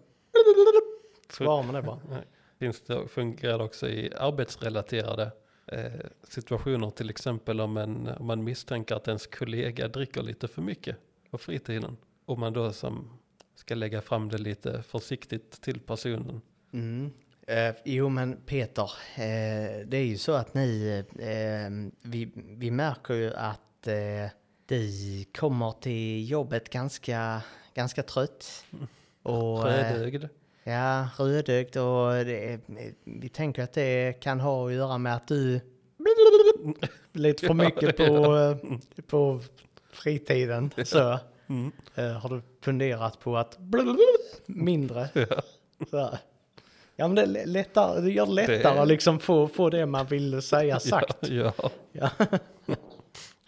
Speaker 2: svarar man det bara.
Speaker 3: Nej. Finns det, fungerar det också i arbetsrelaterade eh, situationer, till exempel om, en, om man misstänker att ens kollega dricker lite för mycket på fritiden. Och man då som ska lägga fram det lite försiktigt till personen.
Speaker 2: Mm. Eh, jo men Peter, eh, det är ju så att ni, eh, vi, vi märker ju att eh, du kommer till jobbet ganska, ganska trött. Och, eh,
Speaker 3: Rödögd.
Speaker 2: ja, rödögd och det, vi tänker att det kan ha att göra med att du lite för mycket på, eh, på fritiden. Så. Eh, har du funderat på att mindre? Så här. Ja men det, är lä- lättare, det gör det lättare
Speaker 3: Det-
Speaker 2: att liksom få, få det man vill säga sagt.
Speaker 3: Ja. ja.
Speaker 2: Ja.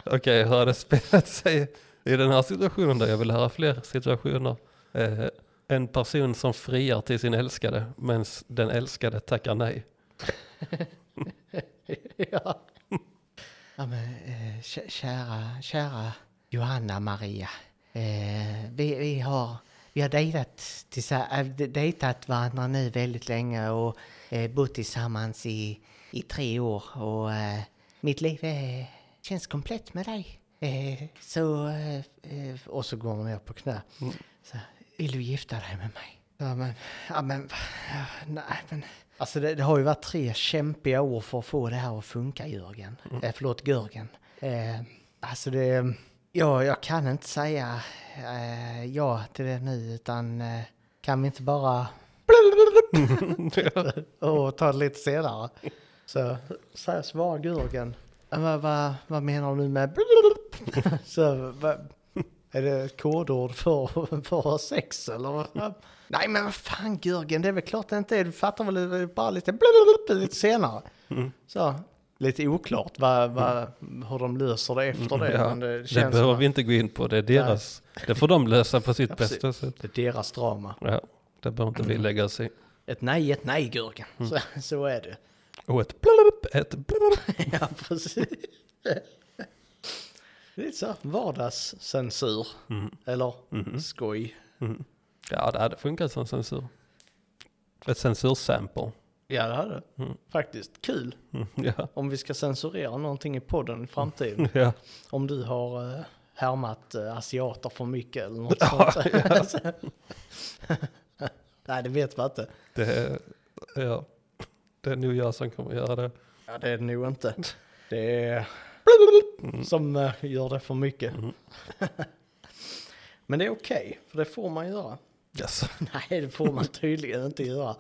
Speaker 3: Okej, hur har det spelat sig i den här situationen då? Jag vill höra fler situationer. Eh, en person som friar till sin älskade, men den älskade tackar nej.
Speaker 2: ja. ja men, eh, kä- kära, kära Johanna Maria. Eh, vi, vi har, vi har dejtat, tillsa- äh, de- dejtat varandra nu väldigt länge och eh, bott tillsammans i, i tre år. Och eh, mitt liv eh, känns komplett med dig. Eh, så, eh, eh, och så går hon ner på knä. Så, vill du gifta dig med mig? Ja men, ja men, ja, nej men. Alltså det, det har ju varit tre kämpiga år för att få det här att funka Jörgen. Eh, förlåt Görgen. Eh, alltså det, ja jag kan inte säga eh, ja till det nu utan eh, kan vi inte bara och ta det lite senare. Så, så här svarar Görgen. "Ja, Vad vad vad menar du med så, vad- är det ett kodord för, för att ha sex eller? vad? Nej men vad fan Jörgen, det är väl klart det inte är. Du fattar väl, det är bara lite blablabla lite senare.
Speaker 3: Mm.
Speaker 2: Så, lite oklart vad, vad, hur de löser det efter det.
Speaker 3: Mm. Ja,
Speaker 2: men det,
Speaker 3: det
Speaker 2: känns som
Speaker 3: behöver
Speaker 2: att
Speaker 3: vi inte gå in på, det är deras. Det får de lösa på sitt
Speaker 2: precis. Mm.
Speaker 3: bästa sätt.
Speaker 2: Det är deras drama.
Speaker 3: Ja, det behöver inte vi lägga oss i.
Speaker 2: Ett nej är ett nej Jörgen,
Speaker 3: Mm.
Speaker 2: så, så är det.
Speaker 3: Och ett blalup, ett blalup.
Speaker 2: Ja, precis. Det är så här vardagscensur. Eller skoj.
Speaker 3: Mm, Ja, det hade funkat som censur. Ett censursample.
Speaker 2: Ja, det hade det. Faktiskt kul.
Speaker 3: Mm, Ja,
Speaker 2: Om vi ska censurera någonting i podden i framtiden.
Speaker 3: ja.
Speaker 2: om du har eh, härmat eh, asiater för mycket eller något sånt. Nej, det vet man inte.
Speaker 3: Det, är- ja. det är nog jag som kommer göra det.
Speaker 2: Ja, det är det nog inte. Det är som eh, gör det för mycket. Men det är okej, för det får man göra.
Speaker 3: Yes.
Speaker 2: Nej, det får man tydligen inte göra.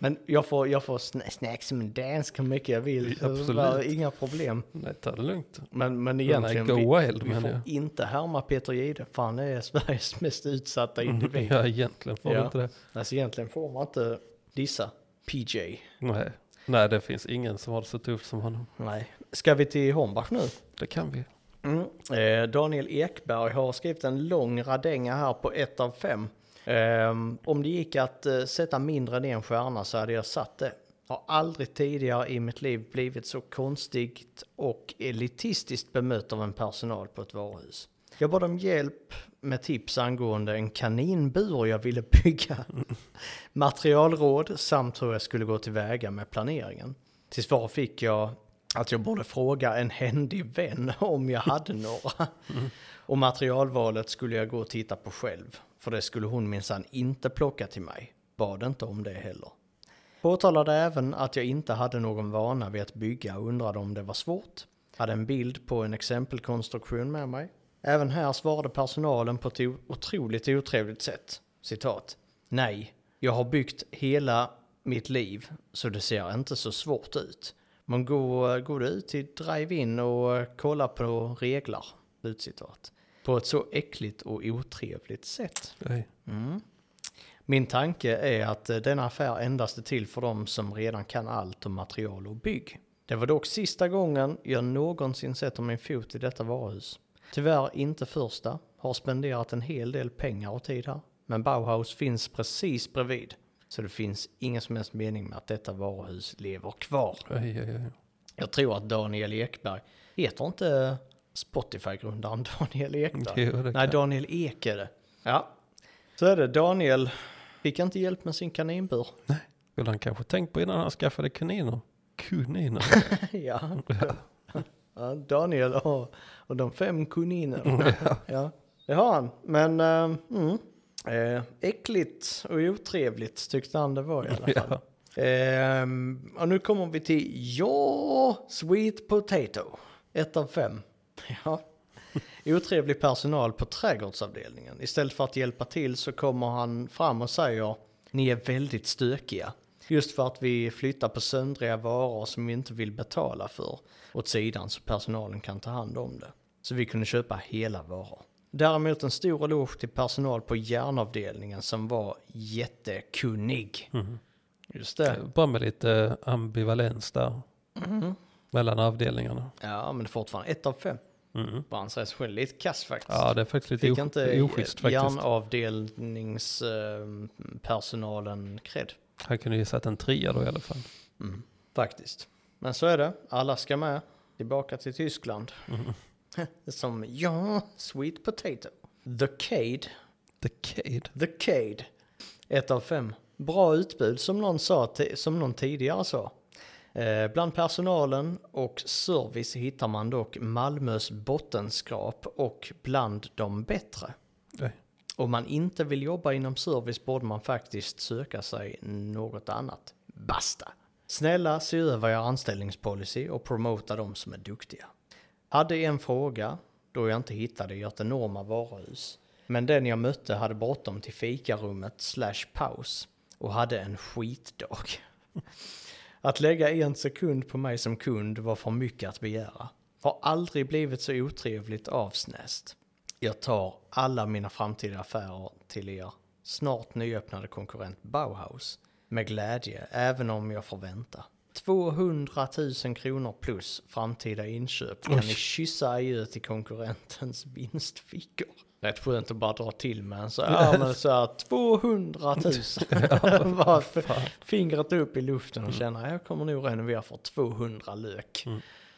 Speaker 2: Men jag får, jag får sn- snacks med dansk hur mycket jag vill.
Speaker 3: Absolut.
Speaker 2: Bara Inga problem.
Speaker 3: Nej, ta det lugnt.
Speaker 2: Men, men egentligen,
Speaker 3: go
Speaker 2: vi,
Speaker 3: wild,
Speaker 2: vi
Speaker 3: men
Speaker 2: får
Speaker 3: ja.
Speaker 2: inte härma Peter Jihde för han är Sveriges mest utsatta individ.
Speaker 3: Mm, Ja, egentligen får
Speaker 2: Ja.
Speaker 3: du inte det.
Speaker 2: Alltså egentligen får man inte dissa PJ.
Speaker 3: Nej. Nej, det finns ingen som har det så tufft som honom.
Speaker 2: Nej. Ska vi till Hornbach nu?
Speaker 3: Det kan vi.
Speaker 2: Mm. Eh, Daniel Ekberg har skrivit en lång radänga här på ett av fem. Ehm, om det gick att eh, sätta mindre än en stjärna så hade jag satt det. Har aldrig tidigare i mitt liv blivit så konstigt och elitistiskt bemött av en personal på ett varuhus. Jag bad om hjälp med tips angående en kaninbur jag ville bygga, materialråd samt hur jag skulle gå tillväga med planeringen. Till svar fick jag att jag borde fråga en händig vän om jag hade några. Och materialvalet skulle jag gå och titta på själv, för det skulle hon minsann inte plocka till mig. Bad inte om det heller. Påtalade även att jag inte hade någon vana vid att bygga och undrade om det var svårt. Hade en bild på en exempelkonstruktion med mig. Även här svarade personalen på ett o- otroligt otrevligt sätt. Citat. Nej, jag har byggt hela mitt liv så det ser inte så svårt ut. Men gå, gå du ut till drive-in och kolla på regler. Slutcitat. På ett så äckligt och otrevligt sätt. Mm.
Speaker 3: Nej.
Speaker 2: Min tanke är att eh, denna affär endast är till för dem som redan kan allt om material och bygg. Det var dock sista gången jag någonsin sätter min fot i detta varuhus. Tyvärr inte första, har spenderat en hel del pengar och tid här. Men Bauhaus finns precis bredvid. Så det finns ingen som helst mening med att detta varuhus lever kvar.
Speaker 3: Oj, oj, oj.
Speaker 2: Jag tror att Daniel Ekberg, heter inte Spotify-grundaren Daniel Ekberg?
Speaker 3: Jo, det
Speaker 2: Nej,
Speaker 3: kan-
Speaker 2: Daniel Ek är det. Ja, så är det. Daniel fick inte hjälp med sin kaninbur.
Speaker 3: Skulle han kanske tänkt på innan han skaffade kaniner? Kaniner?
Speaker 2: ja. ja, Daniel och, och de fem kuninerna. ja, det har han. Men eh, mm, eh, äckligt och otrevligt tyckte han det var i alla fall.
Speaker 3: ja.
Speaker 2: Ehm, och nu kommer vi till ja, sweet potato. Ett av fem. Ja. Otrevlig personal på trädgårdsavdelningen. Istället för att hjälpa till så kommer han fram och säger ni är väldigt stökiga. Just för att vi flyttar på söndriga varor som vi inte vill betala för åt sidan så personalen kan ta hand om det. Så vi kunde köpa hela varor. Däremot en stor eloge till personal på järnavdelningen som var jättekunnig. Just det.
Speaker 3: Bara Mhm. med lite eh, ambivalens där.
Speaker 2: Mm.
Speaker 3: Mellan avdelningarna.
Speaker 2: Ja, men det är fortfarande ett av fem.
Speaker 3: Mm.
Speaker 2: Bransch är själv lite kass faktiskt.
Speaker 3: Ja, det är faktiskt lite
Speaker 2: Fick
Speaker 3: Fick
Speaker 2: inte
Speaker 3: oschysst faktiskt.
Speaker 2: järnavdelningspersonalen ehm, cred.
Speaker 3: Han kunde ju satt en trea då i alla fall.
Speaker 2: Faktiskt. Men så är det. Alla ska med. Tillbaka till Tyskland. Som, ja, sweet potato. The Cade.
Speaker 3: The Cade.
Speaker 2: The Cade. Ett av fem. Bra utbud som någon, sa, ti- som någon tidigare sa. Eh, bland personalen och service hittar man dock Malmös bottenskrap och bland de bättre.
Speaker 3: Nej.
Speaker 2: Om man inte vill jobba inom service borde man faktiskt söka sig något annat. Basta! Snälla, se över er anställningspolicy och promota de som är duktiga. Hade en fråga, då jag inte hittade i ert enorma varuhus. Men den jag mötte hade bråttom till fikarummet slash paus och hade en skitdag. Att lägga en sekund på mig som kund var för mycket att begära. Har aldrig blivit så otrevligt avsnäst. Jag tar alla mina framtida affärer till er snart nyöppnade konkurrent Bauhaus med glädje, även om jag får vänta. 200 000 kronor plus framtida inköp kan ni kyssa adjö till konkurrentens vinstfickor. Rätt skönt att bara dra till med en så här, men så här 200 000. bara f- fingret upp i luften och känna, jag kommer nog renovera för 200 lök.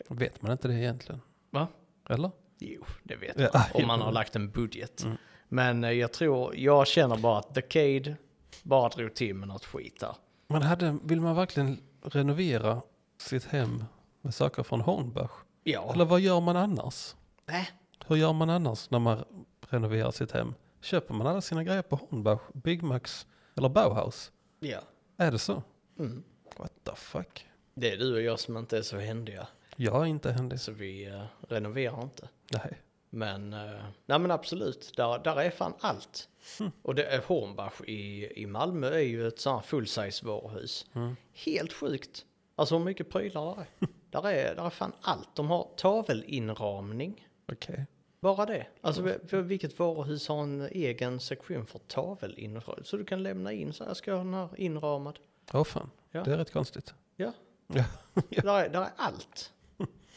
Speaker 3: Vet man inte det egentligen?
Speaker 2: Va?
Speaker 3: Eller?
Speaker 2: Jo, det vet man.
Speaker 3: Ja, Mm.
Speaker 2: om man har lagt en budget. Men eh, jag tror, jag känner bara att The Cade bara drog till med något skit där.
Speaker 3: Man hade, vill man verkligen renovera sitt hem med saker från Hornbach?
Speaker 2: Ja.
Speaker 3: Eller vad gör man annars?
Speaker 2: Nä.
Speaker 3: Hur gör man annars när man renoverar sitt hem? Köper man alla sina grejer på Hornbach, Byggmax eller Bauhaus?
Speaker 2: Ja.
Speaker 3: Är det så?
Speaker 2: Mm.
Speaker 3: What the fuck?
Speaker 2: Det är du och jag som inte är så händiga.
Speaker 3: Jag är inte händig.
Speaker 2: Så vi eh, renoverar inte.
Speaker 3: Nej.
Speaker 2: Men, eh, nej men absolut, där, där är fan allt.
Speaker 3: Hm.
Speaker 2: Och det är Hornbach i, i Malmö är ju ett sånt här full-size varuhus.
Speaker 3: Mm.
Speaker 2: Helt sjukt. Alltså hur mycket prylar det är. där är. Där är fan allt. De har tavelinramning.
Speaker 3: Okej.
Speaker 2: Bara det. Alltså vi- vi- vilket varuhus har en egen sektion för tavelinramning? Så du kan lämna in så här, ska jag ha den här inramad?
Speaker 3: Åh fan,
Speaker 2: Ja.
Speaker 3: det är rätt konstigt.
Speaker 2: Ja,
Speaker 3: Ja.
Speaker 2: där är, där är allt.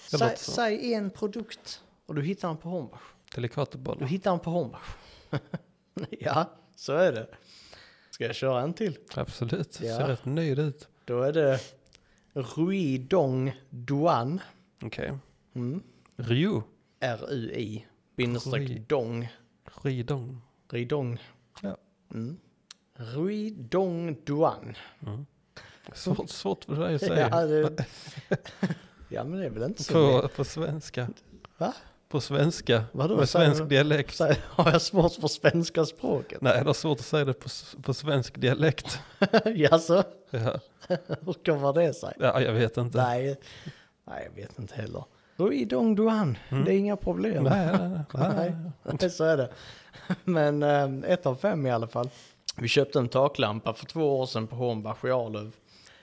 Speaker 3: Det
Speaker 2: Säg,
Speaker 3: låter så.
Speaker 2: säg en produkt och du hittar den på Hornbach. Du
Speaker 3: Delikatbollar.
Speaker 2: hittar den på Hornbach. ja, så är det. Ska jag köra en till?
Speaker 3: Absolut,
Speaker 2: Ja.
Speaker 3: ser rätt nöjd ut.
Speaker 2: Då är det Rui Dong Duan.
Speaker 3: Okej.
Speaker 2: Mm.
Speaker 3: Ryu.
Speaker 2: R-U-I.
Speaker 3: Rui.
Speaker 2: Bindestreck Dong.
Speaker 3: Ridong.
Speaker 2: Ridong.
Speaker 3: Ja.
Speaker 2: Mm. Rui Dong Duan.
Speaker 3: Svårt, svårt för dig att säga.
Speaker 2: Ja, det... ja, men det är väl inte så lätt.
Speaker 3: På, på svenska.
Speaker 2: Va?
Speaker 3: På svenska.
Speaker 2: Vadå,
Speaker 3: med
Speaker 2: säger
Speaker 3: svensk
Speaker 2: du?
Speaker 3: dialekt.
Speaker 2: Så har jag svårt för svenska språket?
Speaker 3: Nej, det är svårt att säga det på, s- på svensk dialekt.
Speaker 2: Jaså,
Speaker 3: Ja,
Speaker 2: hur kommer det sig?
Speaker 3: ja jag vet inte.
Speaker 2: Nej, nej jag vet inte heller. Rui Dong Duan, det är inga problem.
Speaker 3: Mm. nej, nej, nej, nej.
Speaker 2: Nej, så är det. Men eh, ett av fem i alla fall. Vi köpte en taklampa för två år sedan på Hornbach i Arlöv.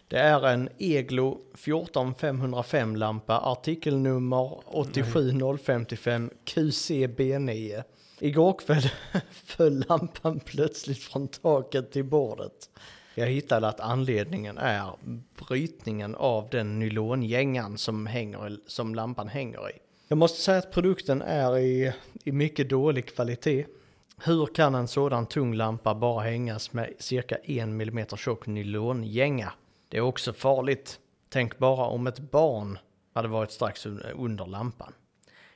Speaker 2: Det är en Eglo 14505 lampa, artikelnummer 87055 QCB9. Igår kväll föll lampan plötsligt från taket till bordet. Jag hittade att anledningen är brytningen av den nylongängan som, hänger, som lampan hänger i. Jag måste säga att produkten är i, i mycket dålig kvalitet. Hur kan en sådan tung lampa bara hängas med cirka 1 mm tjock nylongänga? Det är också farligt. Tänk bara om ett barn hade varit strax un- under lampan.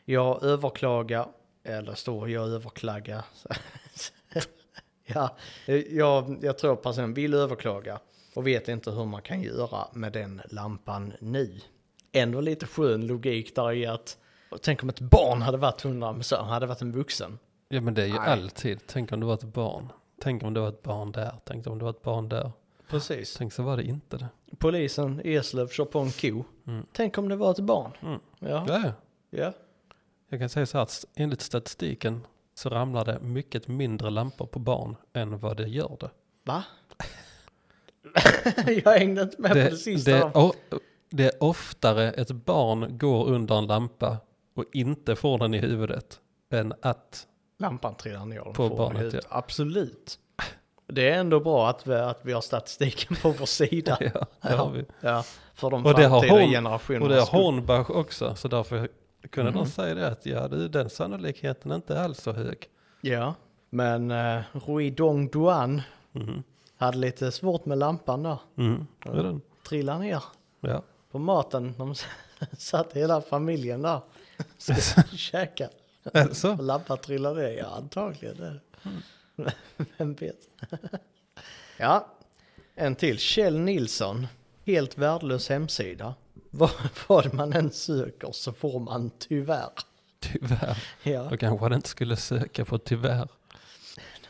Speaker 2: Jag överklagar, eller står jag överklagar. ja, jag, jag tror personen vill överklaga och vet inte hur man kan göra med den lampan nu. Ändå lite skön logik där i att, och tänk om ett barn hade varit 100, men så hade varit en vuxen.
Speaker 3: Ja, men det är ju alltid. Tänk om det var ett barn. Tänk om det var ett barn där. Tänk om det var ett barn där.
Speaker 2: Precis.
Speaker 3: Tänk så var det inte det.
Speaker 2: Polisen i Eslöv kör på en ko. Tänk om det var ett barn. Ja,
Speaker 3: Mm. Ja, ja.
Speaker 2: ja.
Speaker 3: Jag kan säga så här att s- enligt statistiken så ramlar det mycket mindre lampor på barn än vad det gör det.
Speaker 2: Va? jag hängde inte med på det sista.
Speaker 3: det, o, det är oftare ett barn går under en lampa och inte får den i huvudet än att
Speaker 2: Lampan trillar ner. och
Speaker 3: På
Speaker 2: får
Speaker 3: barnet,
Speaker 2: den ut. Absolut. Det är ändå bra att vi, att vi har statistiken på vår sida.
Speaker 3: ja, det har vi.
Speaker 2: Ja, för de
Speaker 3: Och det har
Speaker 2: framtida
Speaker 3: hon-
Speaker 2: generationerna.
Speaker 3: Och det är Mm. Hornbach också, så därför kunde de säga det att ja, du, den sannolikheten är inte alls så hög.
Speaker 2: Ja, men uh, Rui Dong Duan
Speaker 3: Mm-hmm.
Speaker 2: hade lite svårt med lampan där.
Speaker 3: Mm. det Är den?
Speaker 2: Trillade ner
Speaker 3: Ja.
Speaker 2: på maten. De satt hela familjen där. Käka.
Speaker 3: Alltså,
Speaker 2: Och lampan trillade ner. Ja, antagligen. Det. Vem vet. ja, en till. Kjell Nilsson. Helt värdelös hemsida. Vad, vad man än söker så får man tyvärr.
Speaker 3: tyvärr.
Speaker 2: Ja.
Speaker 3: Då kanske han inte skulle söka på tyvärr.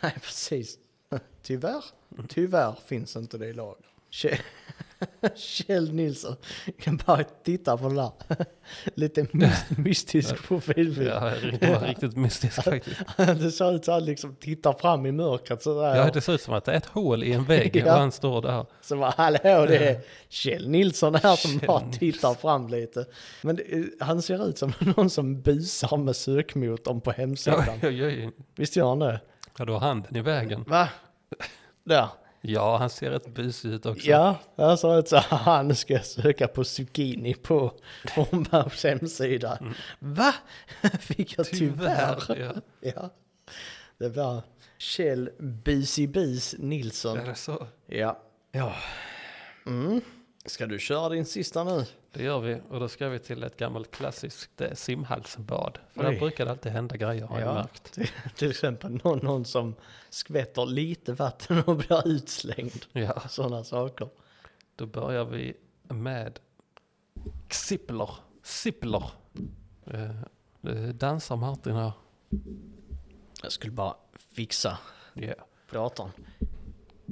Speaker 2: Nej, precis. Tyvärr, tyvärr finns inte det i lag. Kje- Kjell Nilsson, jag kan bara titta på den där. Lite mys- mystisk profilbild.
Speaker 3: Ja, det var riktigt mystiskt faktiskt.
Speaker 2: Det ser ut som han liksom tittar fram i mörkret sådär.
Speaker 3: Ja, det ser ut som att det är ett hål i en vägg
Speaker 2: Ja.
Speaker 3: och han står där.
Speaker 2: Så bara, hallå, det är Kjell Nilsson här som
Speaker 3: Kjell
Speaker 2: bara tittar fram lite. Men det, eh, han ser ut som någon som busar med sökmotorn på hemsidan.
Speaker 3: Oj, oj, oj.
Speaker 2: Visst gör han det?
Speaker 3: Ja, du har handen i vägen.
Speaker 2: Va? Där.
Speaker 3: Ja, han ser rätt busig ut också.
Speaker 2: Ja, jag sa att så, haha, nu ska jag söka på zucchini på Hornbachs hemsida. Va? Fick jag Mm. tyvärr.
Speaker 3: Ja.
Speaker 2: Ja. Det var Kjell Busibis Nilsson.
Speaker 3: Är det så?
Speaker 2: Ja. ja. Mm. Ska du köra din sista nu?
Speaker 3: Det gör vi. Och då ska vi till ett gammalt klassiskt eh, simhalsbad. För
Speaker 2: Oj.
Speaker 3: där brukar det alltid hända grejer har jag märkt.
Speaker 2: till, till exempel någon, någon som skvätter lite vatten och blir utslängd.
Speaker 3: Ja,
Speaker 2: Sådana saker.
Speaker 3: då börjar vi med Xippler. Xippler. Eh, nu dansar Martin här.
Speaker 2: Jag skulle bara fixa
Speaker 3: Ja.
Speaker 2: datorn.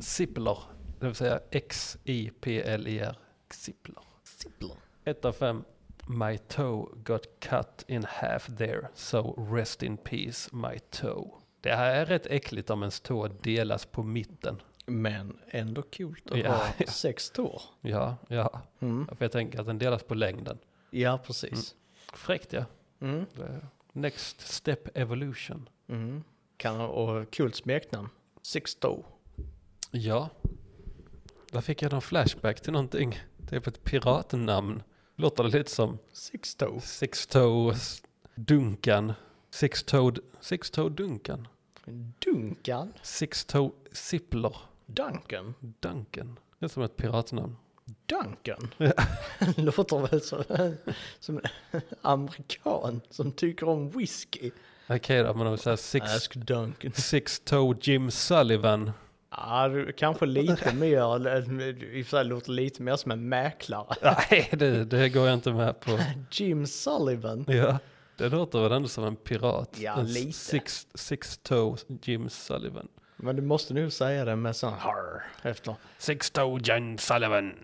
Speaker 3: Xippler, det vill säga X-I-P-L-E-R. Xippler.
Speaker 2: Zippler.
Speaker 3: Ett av fem. My toe got cut in half there, so rest in peace my toe. Det här är rätt äckligt om ens tå delas på mitten.
Speaker 2: Men ändå kul att
Speaker 3: Ja,
Speaker 2: ha
Speaker 3: ja.
Speaker 2: sex tår. Mm.
Speaker 3: Ja, ja. För jag tänker att den delas på längden.
Speaker 2: Ja, precis.
Speaker 3: Fräckt ja.
Speaker 2: Mm.
Speaker 3: Det är Next step evolution.
Speaker 2: Mm. Kan, och kul smeknamn. Six toe.
Speaker 3: Ja. Där fick jag någon flashback till någonting. Typ ett piratnamn. Låter det lite som
Speaker 2: Six toe.
Speaker 3: Six Toes Dunkan. Six Toed... Six Toe Dunkan.
Speaker 2: Duncan.
Speaker 3: Six Toe Sippler
Speaker 2: Duncan.
Speaker 3: Duncan. Det är som ett piratnamn.
Speaker 2: Duncan. Låter väl som, som en amerikan som tycker om whisky.
Speaker 3: Okej då, men om vi säger Six,
Speaker 2: Ask Duncan.
Speaker 3: six Toe Jim Sullivan.
Speaker 2: Ja, du, kanske lite mer, eller, i och för sig låter lite mer som en mäklare.
Speaker 3: Nej, det, det går jag inte med på.
Speaker 2: Jim Sullivan.
Speaker 3: Ja, det låter väl ändå som en pirat.
Speaker 2: Ja,
Speaker 3: en
Speaker 2: lite.
Speaker 3: Six, six Toe Jim Sullivan.
Speaker 2: Men du måste nu säga det med sån harr efter.
Speaker 3: Six Toe Jim Sullivan.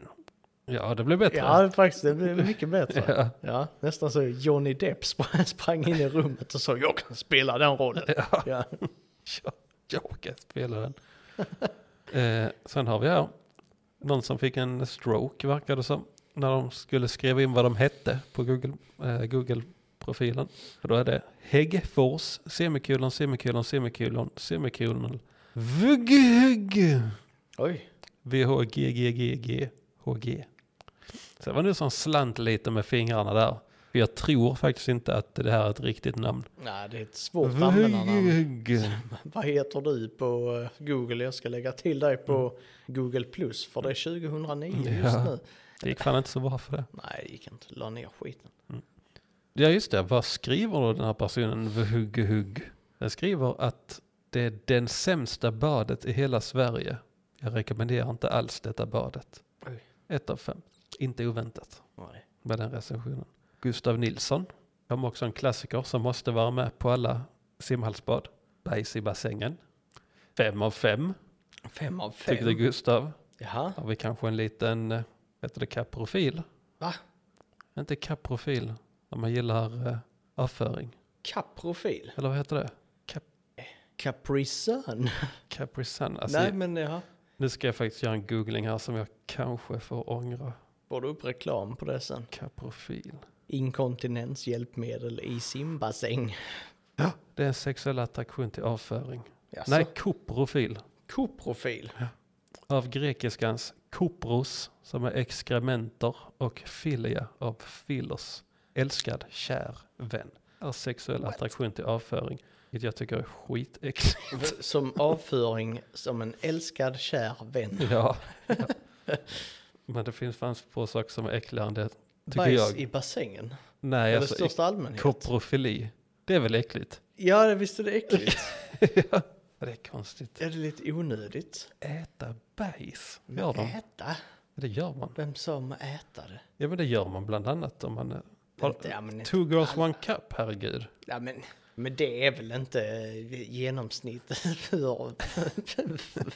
Speaker 3: Ja, det blev bättre.
Speaker 2: Ja, faktiskt, det blir mycket bättre.
Speaker 3: Ja.
Speaker 2: ja. nästan så Johnny Depp sp- sprang in i rummet och sa jag kan spela den rollen.
Speaker 3: Ja.
Speaker 2: Ja.
Speaker 3: Ja, jag kan spela den. eh, sen har vi här någon som fick en stroke verkar det som. När de skulle skriva in vad de hette på Google, eh, Google-profilen. Och då är det Häggfors, semikolon, semikolon, semikolon, semikolon. VGHG.
Speaker 2: Oj,
Speaker 3: VHGGGG. HG. Så det var nu som slant lite med fingrarna där. För jag tror faktiskt inte att det här är ett riktigt namn.
Speaker 2: nej det är ett svårt användarnamn. Vad heter du på eh, Google? Jag ska lägga till dig på Google Plus för det är 2009
Speaker 3: Mm. Ja.
Speaker 2: just nu.
Speaker 3: Det gick fan inte så bra för det.
Speaker 2: Nej, det gick inte. La ner skiten.
Speaker 3: Ja just det, vad skriver då den här personen Vhugghugg? Den skriver att det är den sämsta badet i hela Sverige. Jag rekommenderar inte alls detta badet.
Speaker 2: Oj.
Speaker 3: Ett av fem. Inte oväntat
Speaker 2: Nej.
Speaker 3: med den recensionen. Gustav Nilsson, kom också en klassiker som måste vara med på alla simhallsbad. Bajs i bassängen. Fem av fem,
Speaker 2: Fem av fem.
Speaker 3: tyckte Gustav.
Speaker 2: Jaha,
Speaker 3: Har vi kanske en liten, eh, heter det kaprofil?
Speaker 2: va?
Speaker 3: Inte kaprofil, när man gillar eh, avföring.
Speaker 2: Kaprofil?
Speaker 3: Eller vad heter det? Cap
Speaker 2: Capri Sun?
Speaker 3: Capri Sun. Alltså,
Speaker 2: nej, men jaha.
Speaker 3: Nu ska jag faktiskt göra en googling här som jag kanske får ångra.
Speaker 2: Får du upp reklam på det sen?
Speaker 3: Kaprofil.
Speaker 2: Inkontinenshjälpmedel i simbassäng.
Speaker 3: Det är en sexuell attraktion till avföring.
Speaker 2: Jaså?
Speaker 3: Nej, koprofil.
Speaker 2: Koprofil?
Speaker 3: Av grekiskans kopros, som är exkrementer, och filia, av filos. Älskad, kär, vän. Är sexuell attraktion till avföring. Vilket jag tycker är skitäckligt.
Speaker 2: Som avföring som en älskad kär vän.
Speaker 3: ja. ja. Men det finns fanns få saker som är äckligare än det. Tycker
Speaker 2: Bajs
Speaker 3: jag.
Speaker 2: i bassängen?
Speaker 3: Nej,
Speaker 2: Eller
Speaker 3: alltså
Speaker 2: största allmänhet?
Speaker 3: koprofili. Det är väl äckligt?
Speaker 2: ja, visst är det äckligt?
Speaker 3: ja, det är konstigt.
Speaker 2: är det lite onödigt?
Speaker 3: Äta bajs, gör de.
Speaker 2: Äta?
Speaker 3: Det gör man.
Speaker 2: Vem sa om att äta det?
Speaker 3: Ja, men det gör man bland annat om man... eh, Har,
Speaker 2: Inte- ja, men inte
Speaker 3: two girls, one cup, herregud.
Speaker 2: Ja, men, men det är väl inte eh, genomsnittet för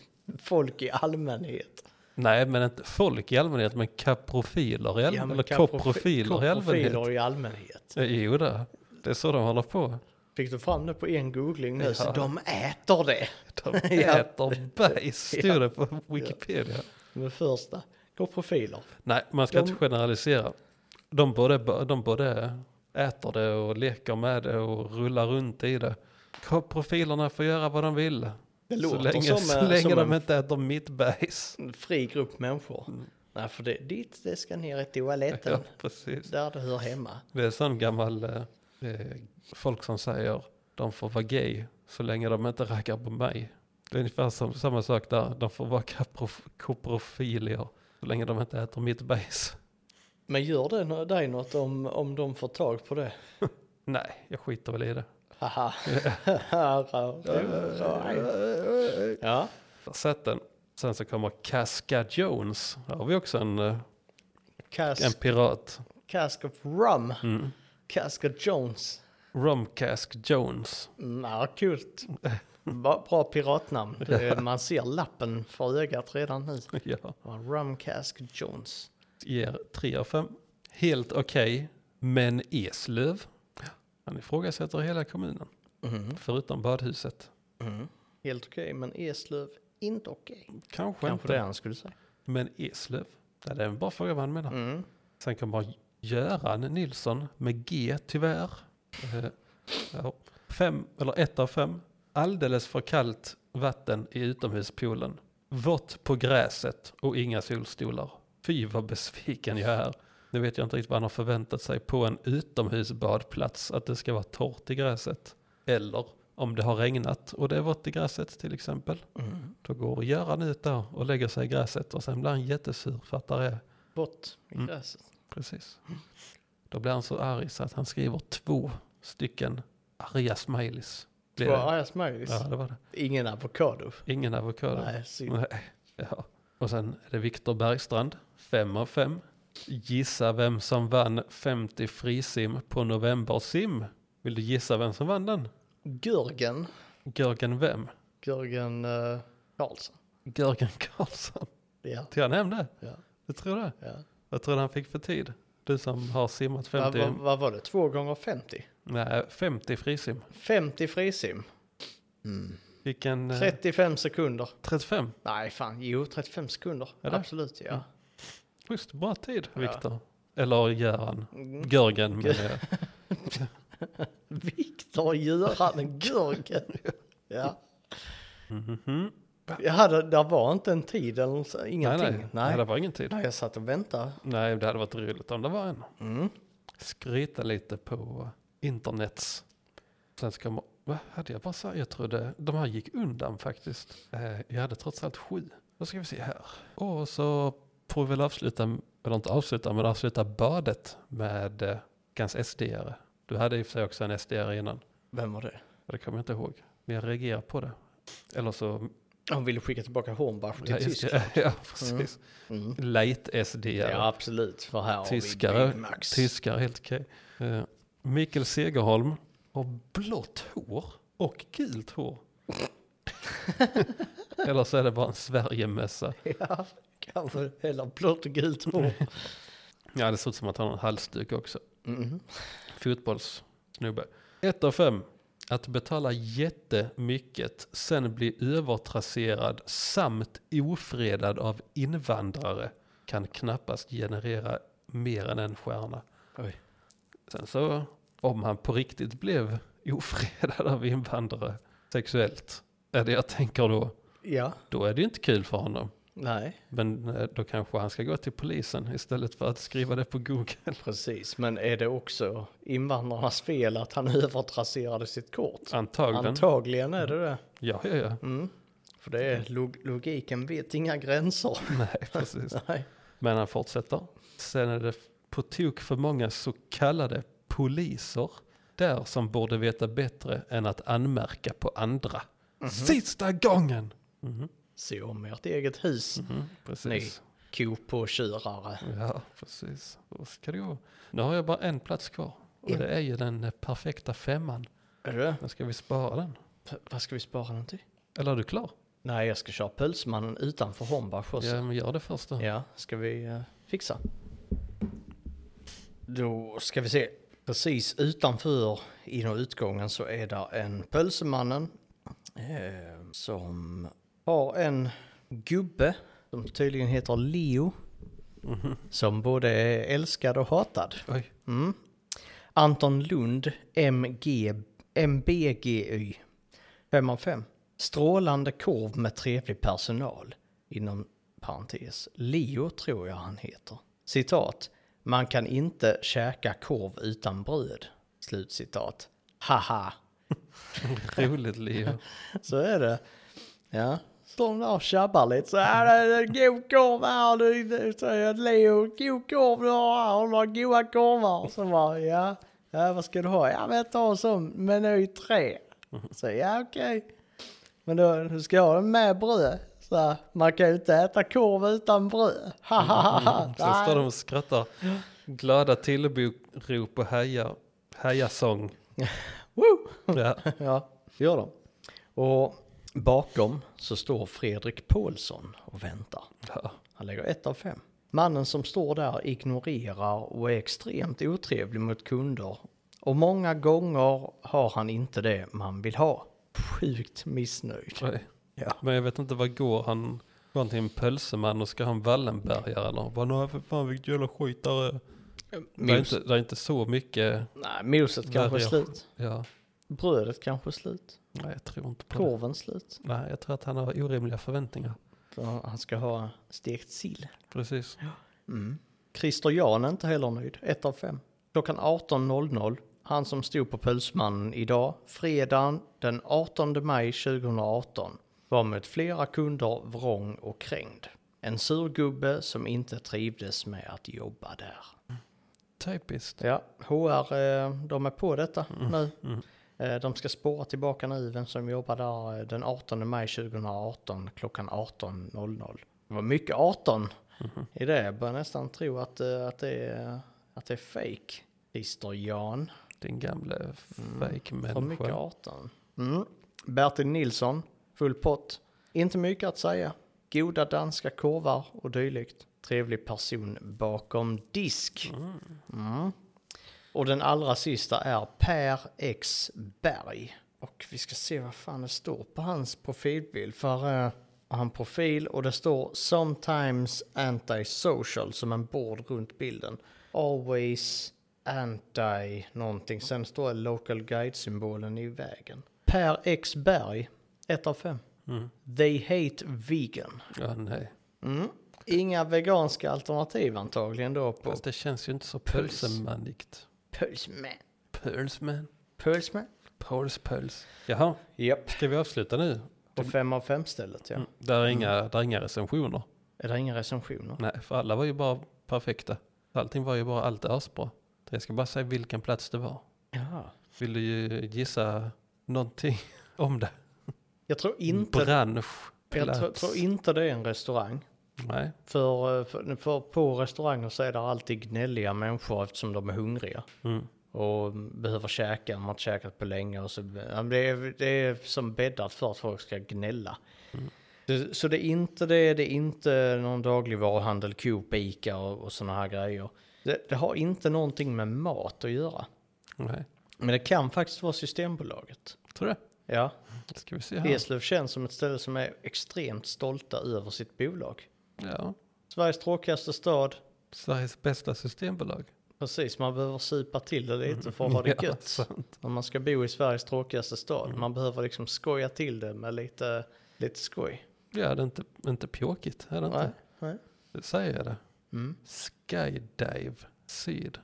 Speaker 2: folk i allmänhet?
Speaker 3: Nej, men inte folk i allmänhet, men kaprofiler i all...
Speaker 2: Ja, men
Speaker 3: eller
Speaker 2: kaprofi-
Speaker 3: koprofiler i allmänhet.
Speaker 2: Koprofiler i allmänhet.
Speaker 3: Ja, Jo, det. det är så de håller på.
Speaker 2: Fick du fram det på en googling nu?
Speaker 3: Ja.
Speaker 2: Så de äter det.
Speaker 3: De
Speaker 2: Ja.
Speaker 3: äter bajs, stod det på Wikipedia.
Speaker 2: Med första. Koprofiler.
Speaker 3: Nej, man ska
Speaker 2: De-
Speaker 3: inte generalisera. De både, de både äter det och leker med det och rullar runt i det. Profilerna får göra vad de vill.
Speaker 2: Det
Speaker 3: Så
Speaker 2: låter
Speaker 3: länge,
Speaker 2: som, eh,
Speaker 3: så länge
Speaker 2: som
Speaker 3: de Mm.
Speaker 2: en-
Speaker 3: inte äter mitt bajs.
Speaker 2: En fri grupp människor. Nej, för det, ditt det ska ner i toaletten.
Speaker 3: Ja, precis.
Speaker 2: Där det hör hemma.
Speaker 3: Det är sån gammal eh, eh, folk som säger de får vara gay så länge de inte raggar på mig. Det är ungefär som, samma sak där. De får vara kaprof- koprofilier så länge de inte äter mitt bajs.
Speaker 2: Men gör det nå- dig något om, om de får tag på det?
Speaker 3: Nej, jag skiter väl i det.
Speaker 2: Haha. ja.
Speaker 3: har sett den. Sen så kommer Casca Jones. Där har vi också en, eh,
Speaker 2: Cask,
Speaker 3: en pirat.
Speaker 2: cask of rum.
Speaker 3: Mm.
Speaker 2: Cask of Jones.
Speaker 3: Rum Cask Jones.
Speaker 2: Ja, kul. Ba- Bra piratnamn. Det är- Man ser lappen för ögat redan nu.
Speaker 3: Ja.
Speaker 2: Ja, Rum Cask Jones.
Speaker 3: Ger 3 av 5. Helt okej. Men Eslöv, han ifrågasätter hela kommunen. Förutom badhuset.
Speaker 2: Mm, Helt okej, men Eslöv inte okej.
Speaker 3: Kanske,
Speaker 2: Kanske
Speaker 3: inte.
Speaker 2: det han skulle säga.
Speaker 3: Men Eslöv, ja, det är en bra fråga vad han menar.
Speaker 2: Mm.
Speaker 3: Sen kan bara Göran Nilsson med G tyvärr. Eh, ja. Fem, eller ett av fem. Alldeles för kallt vatten i utomhuspoolen. Vått på gräset och inga solstolar. Fy vad besviken jag är. Nu vet jag inte riktigt vad han har förväntat sig på en utomhusbadplats. Att det ska vara torrt i gräset. Eller om det har regnat och det är vått i gräset till exempel. Då går Göran ut där och lägger sig i gräset och sen blir han jättesur fattar jag.
Speaker 2: Bort i
Speaker 3: Mm.
Speaker 2: gräset.
Speaker 3: Precis. Då blir han så arg så att han skriver två stycken arga smileys. Blir
Speaker 2: Två
Speaker 3: det?
Speaker 2: arga smileys.
Speaker 3: Ja, det var det.
Speaker 2: Ingen avokado.
Speaker 3: Ingen avokado.
Speaker 2: Nej, synd.
Speaker 3: Nej. Ja. Och sen är det Viktor Bergstrand, fem av fem. Gissa vem som vann 50 frisim på novembersim. Vill du gissa vem som vann den?
Speaker 2: Görgen.
Speaker 3: Görgen vem?
Speaker 2: Görgen eh, Karlsson.
Speaker 3: Görgen Karlsson.
Speaker 2: Ja.
Speaker 3: Tog han hem det?
Speaker 2: Ja.
Speaker 3: Du tror det?
Speaker 2: ja.
Speaker 3: Vad tror du han fick för tid? Du som har simmat
Speaker 2: Vad
Speaker 3: 50,
Speaker 2: vad- vad var det? Två gånger 50?
Speaker 3: nej, 50 frisim.
Speaker 2: 50 frisim.
Speaker 3: Vilken... eh,
Speaker 2: 35 sekunder.
Speaker 3: 35.
Speaker 2: Nej, fan. Jo, 35 sekunder.
Speaker 3: Eller?
Speaker 2: Absolut, ja.
Speaker 3: Mm. Schysst, bra tid, Viktor. Eller Göran.
Speaker 2: Mm.
Speaker 3: Görgen, men jag.
Speaker 2: Viktor Göran Görgen. ja.
Speaker 3: Mhm.
Speaker 2: Jag hade, där var inte en tid eller så,
Speaker 3: Nej,
Speaker 2: ingenting.
Speaker 3: nej.
Speaker 2: Nej,
Speaker 3: nej. det var ingen tid.
Speaker 2: Nej, jag satt och väntade.
Speaker 3: Nej, det hade varit roligt om det var en.
Speaker 2: Mm.
Speaker 3: Skryta lite på internets. Sen ska man, vad hade jag bara sagt? Jag trodde de här gick undan faktiskt. Eh, Jag hade trots allt sju. Då ska vi se här. Och så får vi väl avsluta, eller inte avsluta, men avsluta badet med eh, ganska SD-are. Du hade i och för sig också en SD-are innan.
Speaker 2: Vem var det?
Speaker 3: Det kommer jag inte ihåg. Men jag reagerar på det. Eller så
Speaker 2: Han ville skicka tillbaka Hornbach till
Speaker 3: Ja, just
Speaker 2: Tyskland.
Speaker 3: det. Ja, precis.
Speaker 2: Mm.
Speaker 3: Light SD.
Speaker 2: Ja, absolut. För här har vi Big
Speaker 3: Tyskare.
Speaker 2: Max.
Speaker 3: Tyskar, helt okej. Eh, Mikael Segerholm har blått hår och gult hår. Eller så är det bara en Sverigemössa.
Speaker 2: ja, kanske. Eller blått och gult hår.
Speaker 3: Ja, det ser ut som att han har en halsduk också.
Speaker 2: Mm.
Speaker 3: Fotbollssnubbe. Ett av fem. Att betala jättemycket, sen bli övertrasserad samt ofredad av invandrare kan knappast generera mer än en stjärna.
Speaker 2: Oj.
Speaker 3: Sen så, om han på riktigt blev ofredad av invandrare sexuellt, är det jag tänker då,
Speaker 2: Ja,
Speaker 3: då är det ju inte kul för honom.
Speaker 2: nej,
Speaker 3: Men eh, då kanske han ska gå till polisen istället för att skriva det på Google.
Speaker 2: precis. Men är det också invandrarnas fel att han övertrasserade sitt kort?
Speaker 3: Antagligen.
Speaker 2: Antagligen är det det.
Speaker 3: ja, ja, ja.
Speaker 2: Mm. För det är log logiken vet inga gränser.
Speaker 3: Nej, precis.
Speaker 2: Nej.
Speaker 3: Men han fortsätter. Sen är det på tok för många så kallade poliser där som borde veta bättre än att anmärka på andra. Sista gången! Mhm,
Speaker 2: Se om ert eget hus,
Speaker 3: mhm, precis.
Speaker 2: kopåtjurare.
Speaker 3: Ja, precis. Så ska det gå. Nu har jag bara en plats kvar. Och
Speaker 2: En.
Speaker 3: det är ju den eh, perfekta femman.
Speaker 2: Är det?
Speaker 3: Men ska vi spara den?
Speaker 2: P- Vad ska vi spara den till?
Speaker 3: Eller är du klar?
Speaker 2: Nej, jag ska köra Pölsmannen utanför Hornbach också.
Speaker 3: Ja, men gör det först då.
Speaker 2: Ja, ska vi eh, fixa? Då ska vi se. Precis utanför in och utgången så är där en pölsemannen eh, som har en gubbe som tydligen heter Leo. Som både är älskad och hatad.
Speaker 3: Oj.
Speaker 2: Mm. Anton Lund, MG, MBGY, 5 av 5. Strålande korv med trevlig personal, inom parentes. Leo tror jag han heter. Citat, man kan inte käka korv utan bröd. Slutcitat. Haha,
Speaker 3: Roligt Leo.
Speaker 2: så är det. Ja, står de där och tjabbar lite så här. "Äh, det är God korv här du. du, säger Leo, god korv du har här. Har du några goda korvar? Så bara, ja. Ja, vad ska du ha? Ja, men jag tar en sån meny tre. Så ja, okej. Men då, då ska jag ha den med bröd. Så här, man kan ju inte äta korv utan bröd. Ha, ha, ha, ha.
Speaker 3: Sen står de
Speaker 2: Nej.
Speaker 3: och skrattar. Glada tillrop och heja, hejasång.
Speaker 2: Woo!
Speaker 3: Ja.
Speaker 2: Ja, det gör de. Och bakom så står Fredrik Paulsson och väntar.
Speaker 3: Ja.
Speaker 2: Han lägger ett av fem. Mannen som står där ignorerar och är extremt otrevlig mot kunder. Och många gånger har han inte det man vill ha. Sjukt missnöjd.
Speaker 3: Nej.
Speaker 2: Ja.
Speaker 3: Men jag vet inte, vad går han? Går han till en pölseman och ska han Wallenbergare eller? Vad nu, för fan vilket jävla skit där är. Det är,
Speaker 2: Mos,
Speaker 3: inte, det är inte så mycket,
Speaker 2: nej, moset kanske är
Speaker 3: Variation.
Speaker 2: slut.
Speaker 3: ja.
Speaker 2: Brödet kanske är slut.
Speaker 3: Nej, jag tror inte på det.
Speaker 2: Korven slut.
Speaker 3: Nej, jag tror att han har orimliga förväntningar.
Speaker 2: För han ska ha stekt sill.
Speaker 3: Precis.
Speaker 2: Mm. Christer Jan är inte heller nöjd. 1 av 5. Klockan 18.00. Han som stod på Pulsmannen idag, fredagen den 18 maj 2018, var mot flera kunder vrång och krängd. En surgubbe som inte trivdes med att jobba där.
Speaker 3: Typiskt.
Speaker 2: Ja, HR, eh, de är på detta nu. Eh, De ska spåra tillbaka nu vem som jobbar där eh, den 18 maj 2018 klockan 18.00. Det var mycket 18 i det. Jag börjar nästan tro att, eh, att, det, är, att det är fake. Christer Jan.
Speaker 3: Din gamle
Speaker 2: Mm. För mycket
Speaker 3: fake-människa.
Speaker 2: 18. Mm. Bertil Nilsson, full pott. Inte mycket att säga. Goda danska korvar och dylikt. Trevlig person bakom disk. Mm. Och den allra sista är Per X Berg. Och vi ska se vad fan det står på hans profilbild. För eh, har han profil och det står “Sometimes antisocial” som en bord runt bilden. Always anti någonting. Sen står det local guide-symbolen i vägen. Per X Berg, 1 av 5. They hate vegan.
Speaker 3: Ja, nej.
Speaker 2: Mm. Inga veganska alternativ antagligen då på
Speaker 3: Fast det känns ju inte så pölsemanigt.
Speaker 2: Pulsman.
Speaker 3: Pölsman.
Speaker 2: Pulsman?
Speaker 3: Pols, pöls. Jaha,
Speaker 2: Japp.
Speaker 3: ska vi avsluta nu? Mm.
Speaker 2: På fem av fem stället ja.
Speaker 3: Där är inga, där är inga recensioner.
Speaker 2: Är det inga recensioner?
Speaker 3: Nej, för alla var ju bara perfekta. Allting var ju bara allt asbra. Så Jag ska bara säga vilken plats det var.
Speaker 2: Ja.
Speaker 3: Vill du ju gissa någonting om det?
Speaker 2: Jag tror inte,
Speaker 3: Bransch,
Speaker 2: jag
Speaker 3: plats.
Speaker 2: tror, tror inte det är en restaurang.
Speaker 3: Nej,
Speaker 2: För, eh, för, för på restauranger så är det alltid gnälliga människor eftersom de är hungriga.
Speaker 3: Mm.
Speaker 2: Och behöver käka, de har inte käkat på länge. Och så, ja, men det, är, det är som bäddat för att folk ska gnälla.
Speaker 3: Mm.
Speaker 2: Så, så det är inte det, det är inte någon dagligvaruhandel, Coop, Ica och, och sådana här grejer. Det, det har inte någonting med mat att göra.
Speaker 3: nej.
Speaker 2: Men det kan faktiskt vara Systembolaget.
Speaker 3: Tror du?
Speaker 2: Ja,
Speaker 3: Det Ska vi se här.
Speaker 2: Eslöv känns som ett ställe som är extremt stolta över sitt bolag.
Speaker 3: Ja.
Speaker 2: Sveriges tråkigaste stad.
Speaker 3: Sveriges bästa systembolag.
Speaker 2: Precis, man behöver supa till det lite för att ha det
Speaker 3: Mm. Ja, alltså.
Speaker 2: gött.
Speaker 3: sant.
Speaker 2: Om man ska bo i Sveriges tråkigaste stad. Man behöver liksom skoja till det med lite, lite skoj.
Speaker 3: Ja, det är inte, inte pjåkigt. Är det
Speaker 2: Nej,
Speaker 3: inte?
Speaker 2: nej.
Speaker 3: Det säger jag det.
Speaker 2: Mm.
Speaker 3: Skydive Syd.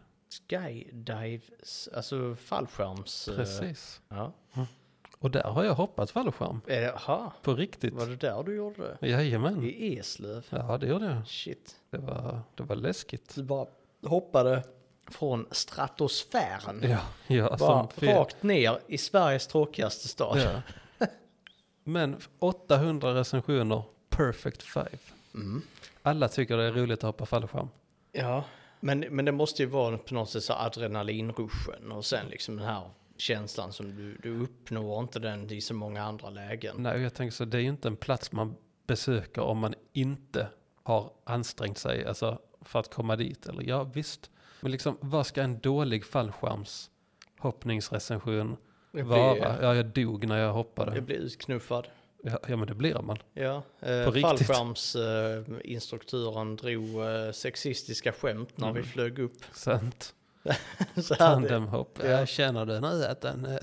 Speaker 2: Skydive, s- alltså fallskärms... eh,
Speaker 3: Precis.
Speaker 2: Ja.
Speaker 3: Och där har jag hoppat fallskärm.
Speaker 2: Är det, aha,
Speaker 3: På riktigt.
Speaker 2: var det där du gjorde det?
Speaker 3: Jajamän.
Speaker 2: I Eslöv?
Speaker 3: Ja, det gjorde jag.
Speaker 2: Shit.
Speaker 3: Det var, det var läskigt.
Speaker 2: Du bara hoppade från stratosfären.
Speaker 3: Ja, ja
Speaker 2: Bara
Speaker 3: som fel.
Speaker 2: rakt ner i Sveriges tråkigaste stad.
Speaker 3: Ja. Men 800 recensioner, perfect five.
Speaker 2: Mm.
Speaker 3: Alla tycker det är roligt att hoppa fallskärm.
Speaker 2: Ja, men, men det måste ju vara på något sätt så adrenalinruschen och sen liksom den här känslan som du, du uppnår inte den i så många andra lägen.
Speaker 3: Nej, och jag tänker så det är ju inte en plats man besöker om man inte har ansträngt sig alltså, för att komma dit. Eller ja, visst. Men liksom, vad ska en dålig fallskärmshoppningsrecension
Speaker 2: Jag
Speaker 3: vara?
Speaker 2: blir,
Speaker 3: Ja, jag dog när jag hoppade.
Speaker 2: jag blir utknuffad.
Speaker 3: Ja, ja men det blir man.
Speaker 2: Ja,
Speaker 3: På
Speaker 2: eh,
Speaker 3: riktigt?
Speaker 2: fallskärmsinstruktören eh, instruktören drog eh, sexistiska skämt när
Speaker 3: Mm.
Speaker 2: vi flög upp.
Speaker 3: Sant.
Speaker 2: Så här,
Speaker 3: Tandemhopp.
Speaker 2: Ja.
Speaker 3: Ja. Känner du nu att den...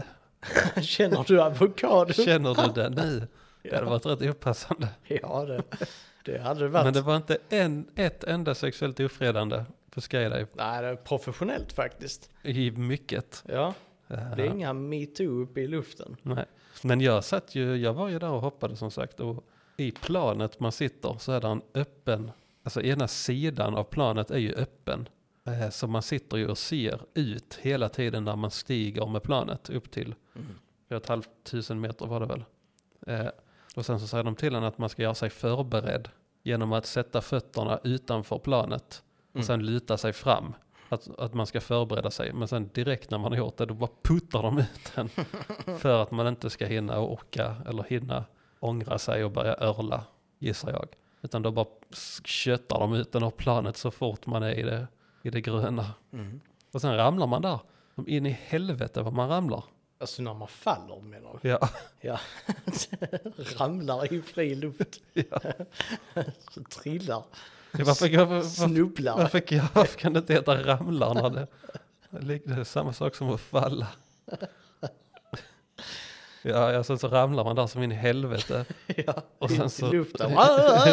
Speaker 3: eh,
Speaker 2: känner du avokado?
Speaker 3: Känner du den nu? Det hade varit rätt opassande.
Speaker 2: Ja, det, det hade det varit.
Speaker 3: Men det var inte en, ett enda sexuellt ofredande på Skydive.
Speaker 2: Nej, det är professionellt faktiskt.
Speaker 3: I mycket.
Speaker 2: Ja,
Speaker 3: Eh,
Speaker 2: det är inga metoo uppe i luften.
Speaker 3: Nej. Men jag satt ju, jag var ju där och hoppade som sagt. Och i planet man sitter så är det en öppen, alltså ena sidan av planet är ju öppen. Eh, Så man sitter ju och ser ut hela tiden när man stiger med planet upp till 4500 meter var det väl. Eh, Och sen så säger de till en att man ska göra sig förberedd genom att sätta fötterna utanför planet
Speaker 2: Mm.
Speaker 3: och sen luta sig fram. Att, att man ska förbereda sig. Men sen direkt när man har gjort det då bara puttar de ut en. För att man inte ska hinna och orka eller hinna ångra sig och börja örla, gissar jag. Utan då bara köttar de ut den av planet så fort man är i det, i det gröna. Och sen ramlar man där. Som in i helvete vad man ramlar.
Speaker 2: Alltså när man faller menar du?
Speaker 3: Ja.
Speaker 2: Ja. Ramlar i fri luft. Så trillar.
Speaker 3: Varför, varför, varför,
Speaker 2: Snubblar.
Speaker 3: varför, kan- varför kan det inte heta ramlar när det, det är samma sak som att falla? Ja, ja, sen så ramlar man där som in i helvete.
Speaker 2: Ja.
Speaker 3: Och sen
Speaker 2: ut
Speaker 3: så-
Speaker 2: I luften. Ah,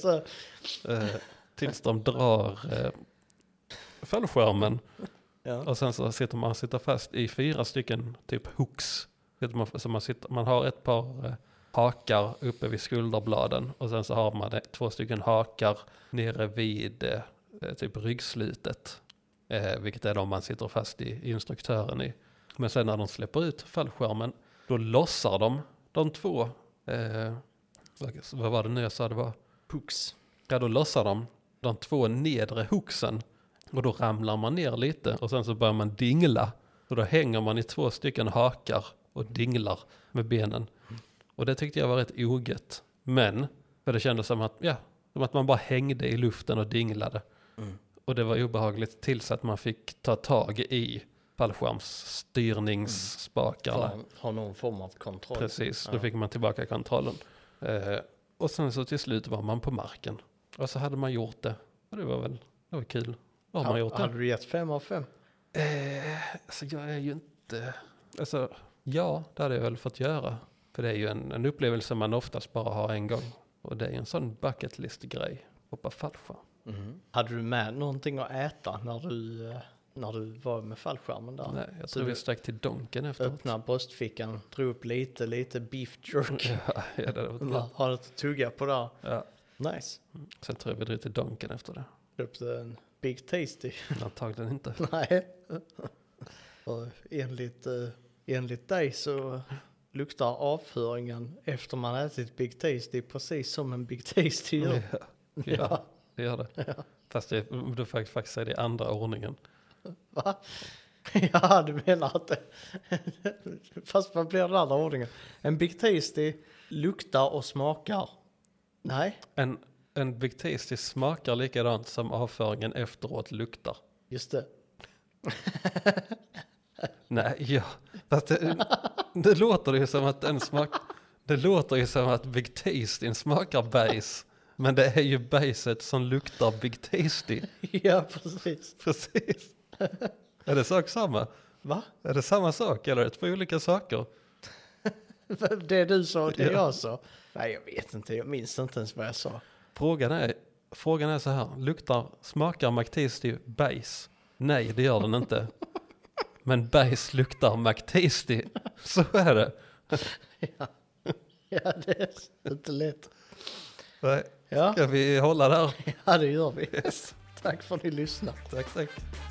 Speaker 2: så.
Speaker 3: Eh, tills de drar eh, fallskärmen.
Speaker 2: Ja.
Speaker 3: Och sen så sitter man sitter fast i fyra stycken typ hooks. Sitter man, så man, sitter, man har ett par eh, hakar uppe vid skulderbladen och sen så har man eh, två stycken hakar nere vid eh, eh, typ ryggslutet. Eh, vilket är de man sitter fast i instruktören i. Men sen när de släpper ut fallskärmen då lossar de de två, eh, vad- vad var det nu jag sa det var?
Speaker 2: Hooks.
Speaker 3: Ja, då lossar de de två nedre hooksen och då ramlar man ner lite och sen så börjar man dingla. Och då hänger man i två stycken hakar och dinglar med benen. Och det tyckte jag var rätt ogött. Men, för det kändes som att, ja, som att man bara hängde i luften och dinglade. Och det var obehagligt tills att man fick ta tag i fallskärmsstyrningsspakarna.
Speaker 2: Har, har någon form av kontroll.
Speaker 3: Precis, då
Speaker 2: Ja.
Speaker 3: fick man tillbaka kontrollen. Eh, och sen så till slut var man på marken. Och så hade man gjort det. Och det var väl det var kul. Vad har man gjort det?
Speaker 2: Hade du gett fem av fem?
Speaker 3: Eh, alltså jag är ju inte... Alltså, ja, det hade jag väl fått göra. För det är ju en, en upplevelse man oftast bara har en gång. Och det är ju en sån bucket list-grej. Hoppa fallskärm. Mm.
Speaker 2: Hade du med någonting att äta när du, eh, när du var med fallskärmen där?
Speaker 3: Nej, jag
Speaker 2: Så
Speaker 3: tror
Speaker 2: du-
Speaker 3: vi stack till donken efteråt.
Speaker 2: Öppna bröstfickan, drog upp lite, lite beef jerky.
Speaker 3: Ja, det hade varit
Speaker 2: Mm.
Speaker 3: gott.
Speaker 2: Har lite tugga på där.
Speaker 3: Ja.
Speaker 2: Nice.
Speaker 3: Sen tror jag vi drog till donken efter det.
Speaker 2: Köpte en Big Tasty.
Speaker 3: Men Antagligen inte.
Speaker 2: Nej. Och enligt, eh, enligt dig så luktar avföringen efter man ätit Big Tasty precis som en Big Tasty gör.
Speaker 3: Ja, ja det gör det. Fast det, du får jag faktiskt säga det i andra ordningen.
Speaker 2: Va? Ja, du menar att det... Fast vad blir den andra ordningen? En Big Tasty luktar och smakar. Nej,
Speaker 3: En, en Big Tasty smakar likadant som avföringen efteråt luktar.
Speaker 2: just det.
Speaker 3: Nej, ja. Fast det, det låter ju som att en smak... Det låter ju som att Big Tasty smakar bajs. Men det är ju bajset som luktar Big Tasty.
Speaker 2: Ja, precis.
Speaker 3: Precis. Är det sak samma?
Speaker 2: Va?
Speaker 3: Är det samma sak eller är det två olika saker?
Speaker 2: Det du sa och det
Speaker 3: Ja.
Speaker 2: jag sa. Nej, jag vet inte. Jag minns inte ens vad jag sa.
Speaker 3: Frågan är, frågan är så här, luktar, smakar McTasty bajs? Nej, det gör den inte. Men bajs luktar McTasty. Så är det.
Speaker 2: Ja, det är inte lätt.
Speaker 3: Nej,
Speaker 2: Ja,
Speaker 3: Ska vi hålla där?
Speaker 2: ja det gör vi.
Speaker 3: Yes.
Speaker 2: Tack för att ni lyssnade.
Speaker 3: Tack, tack.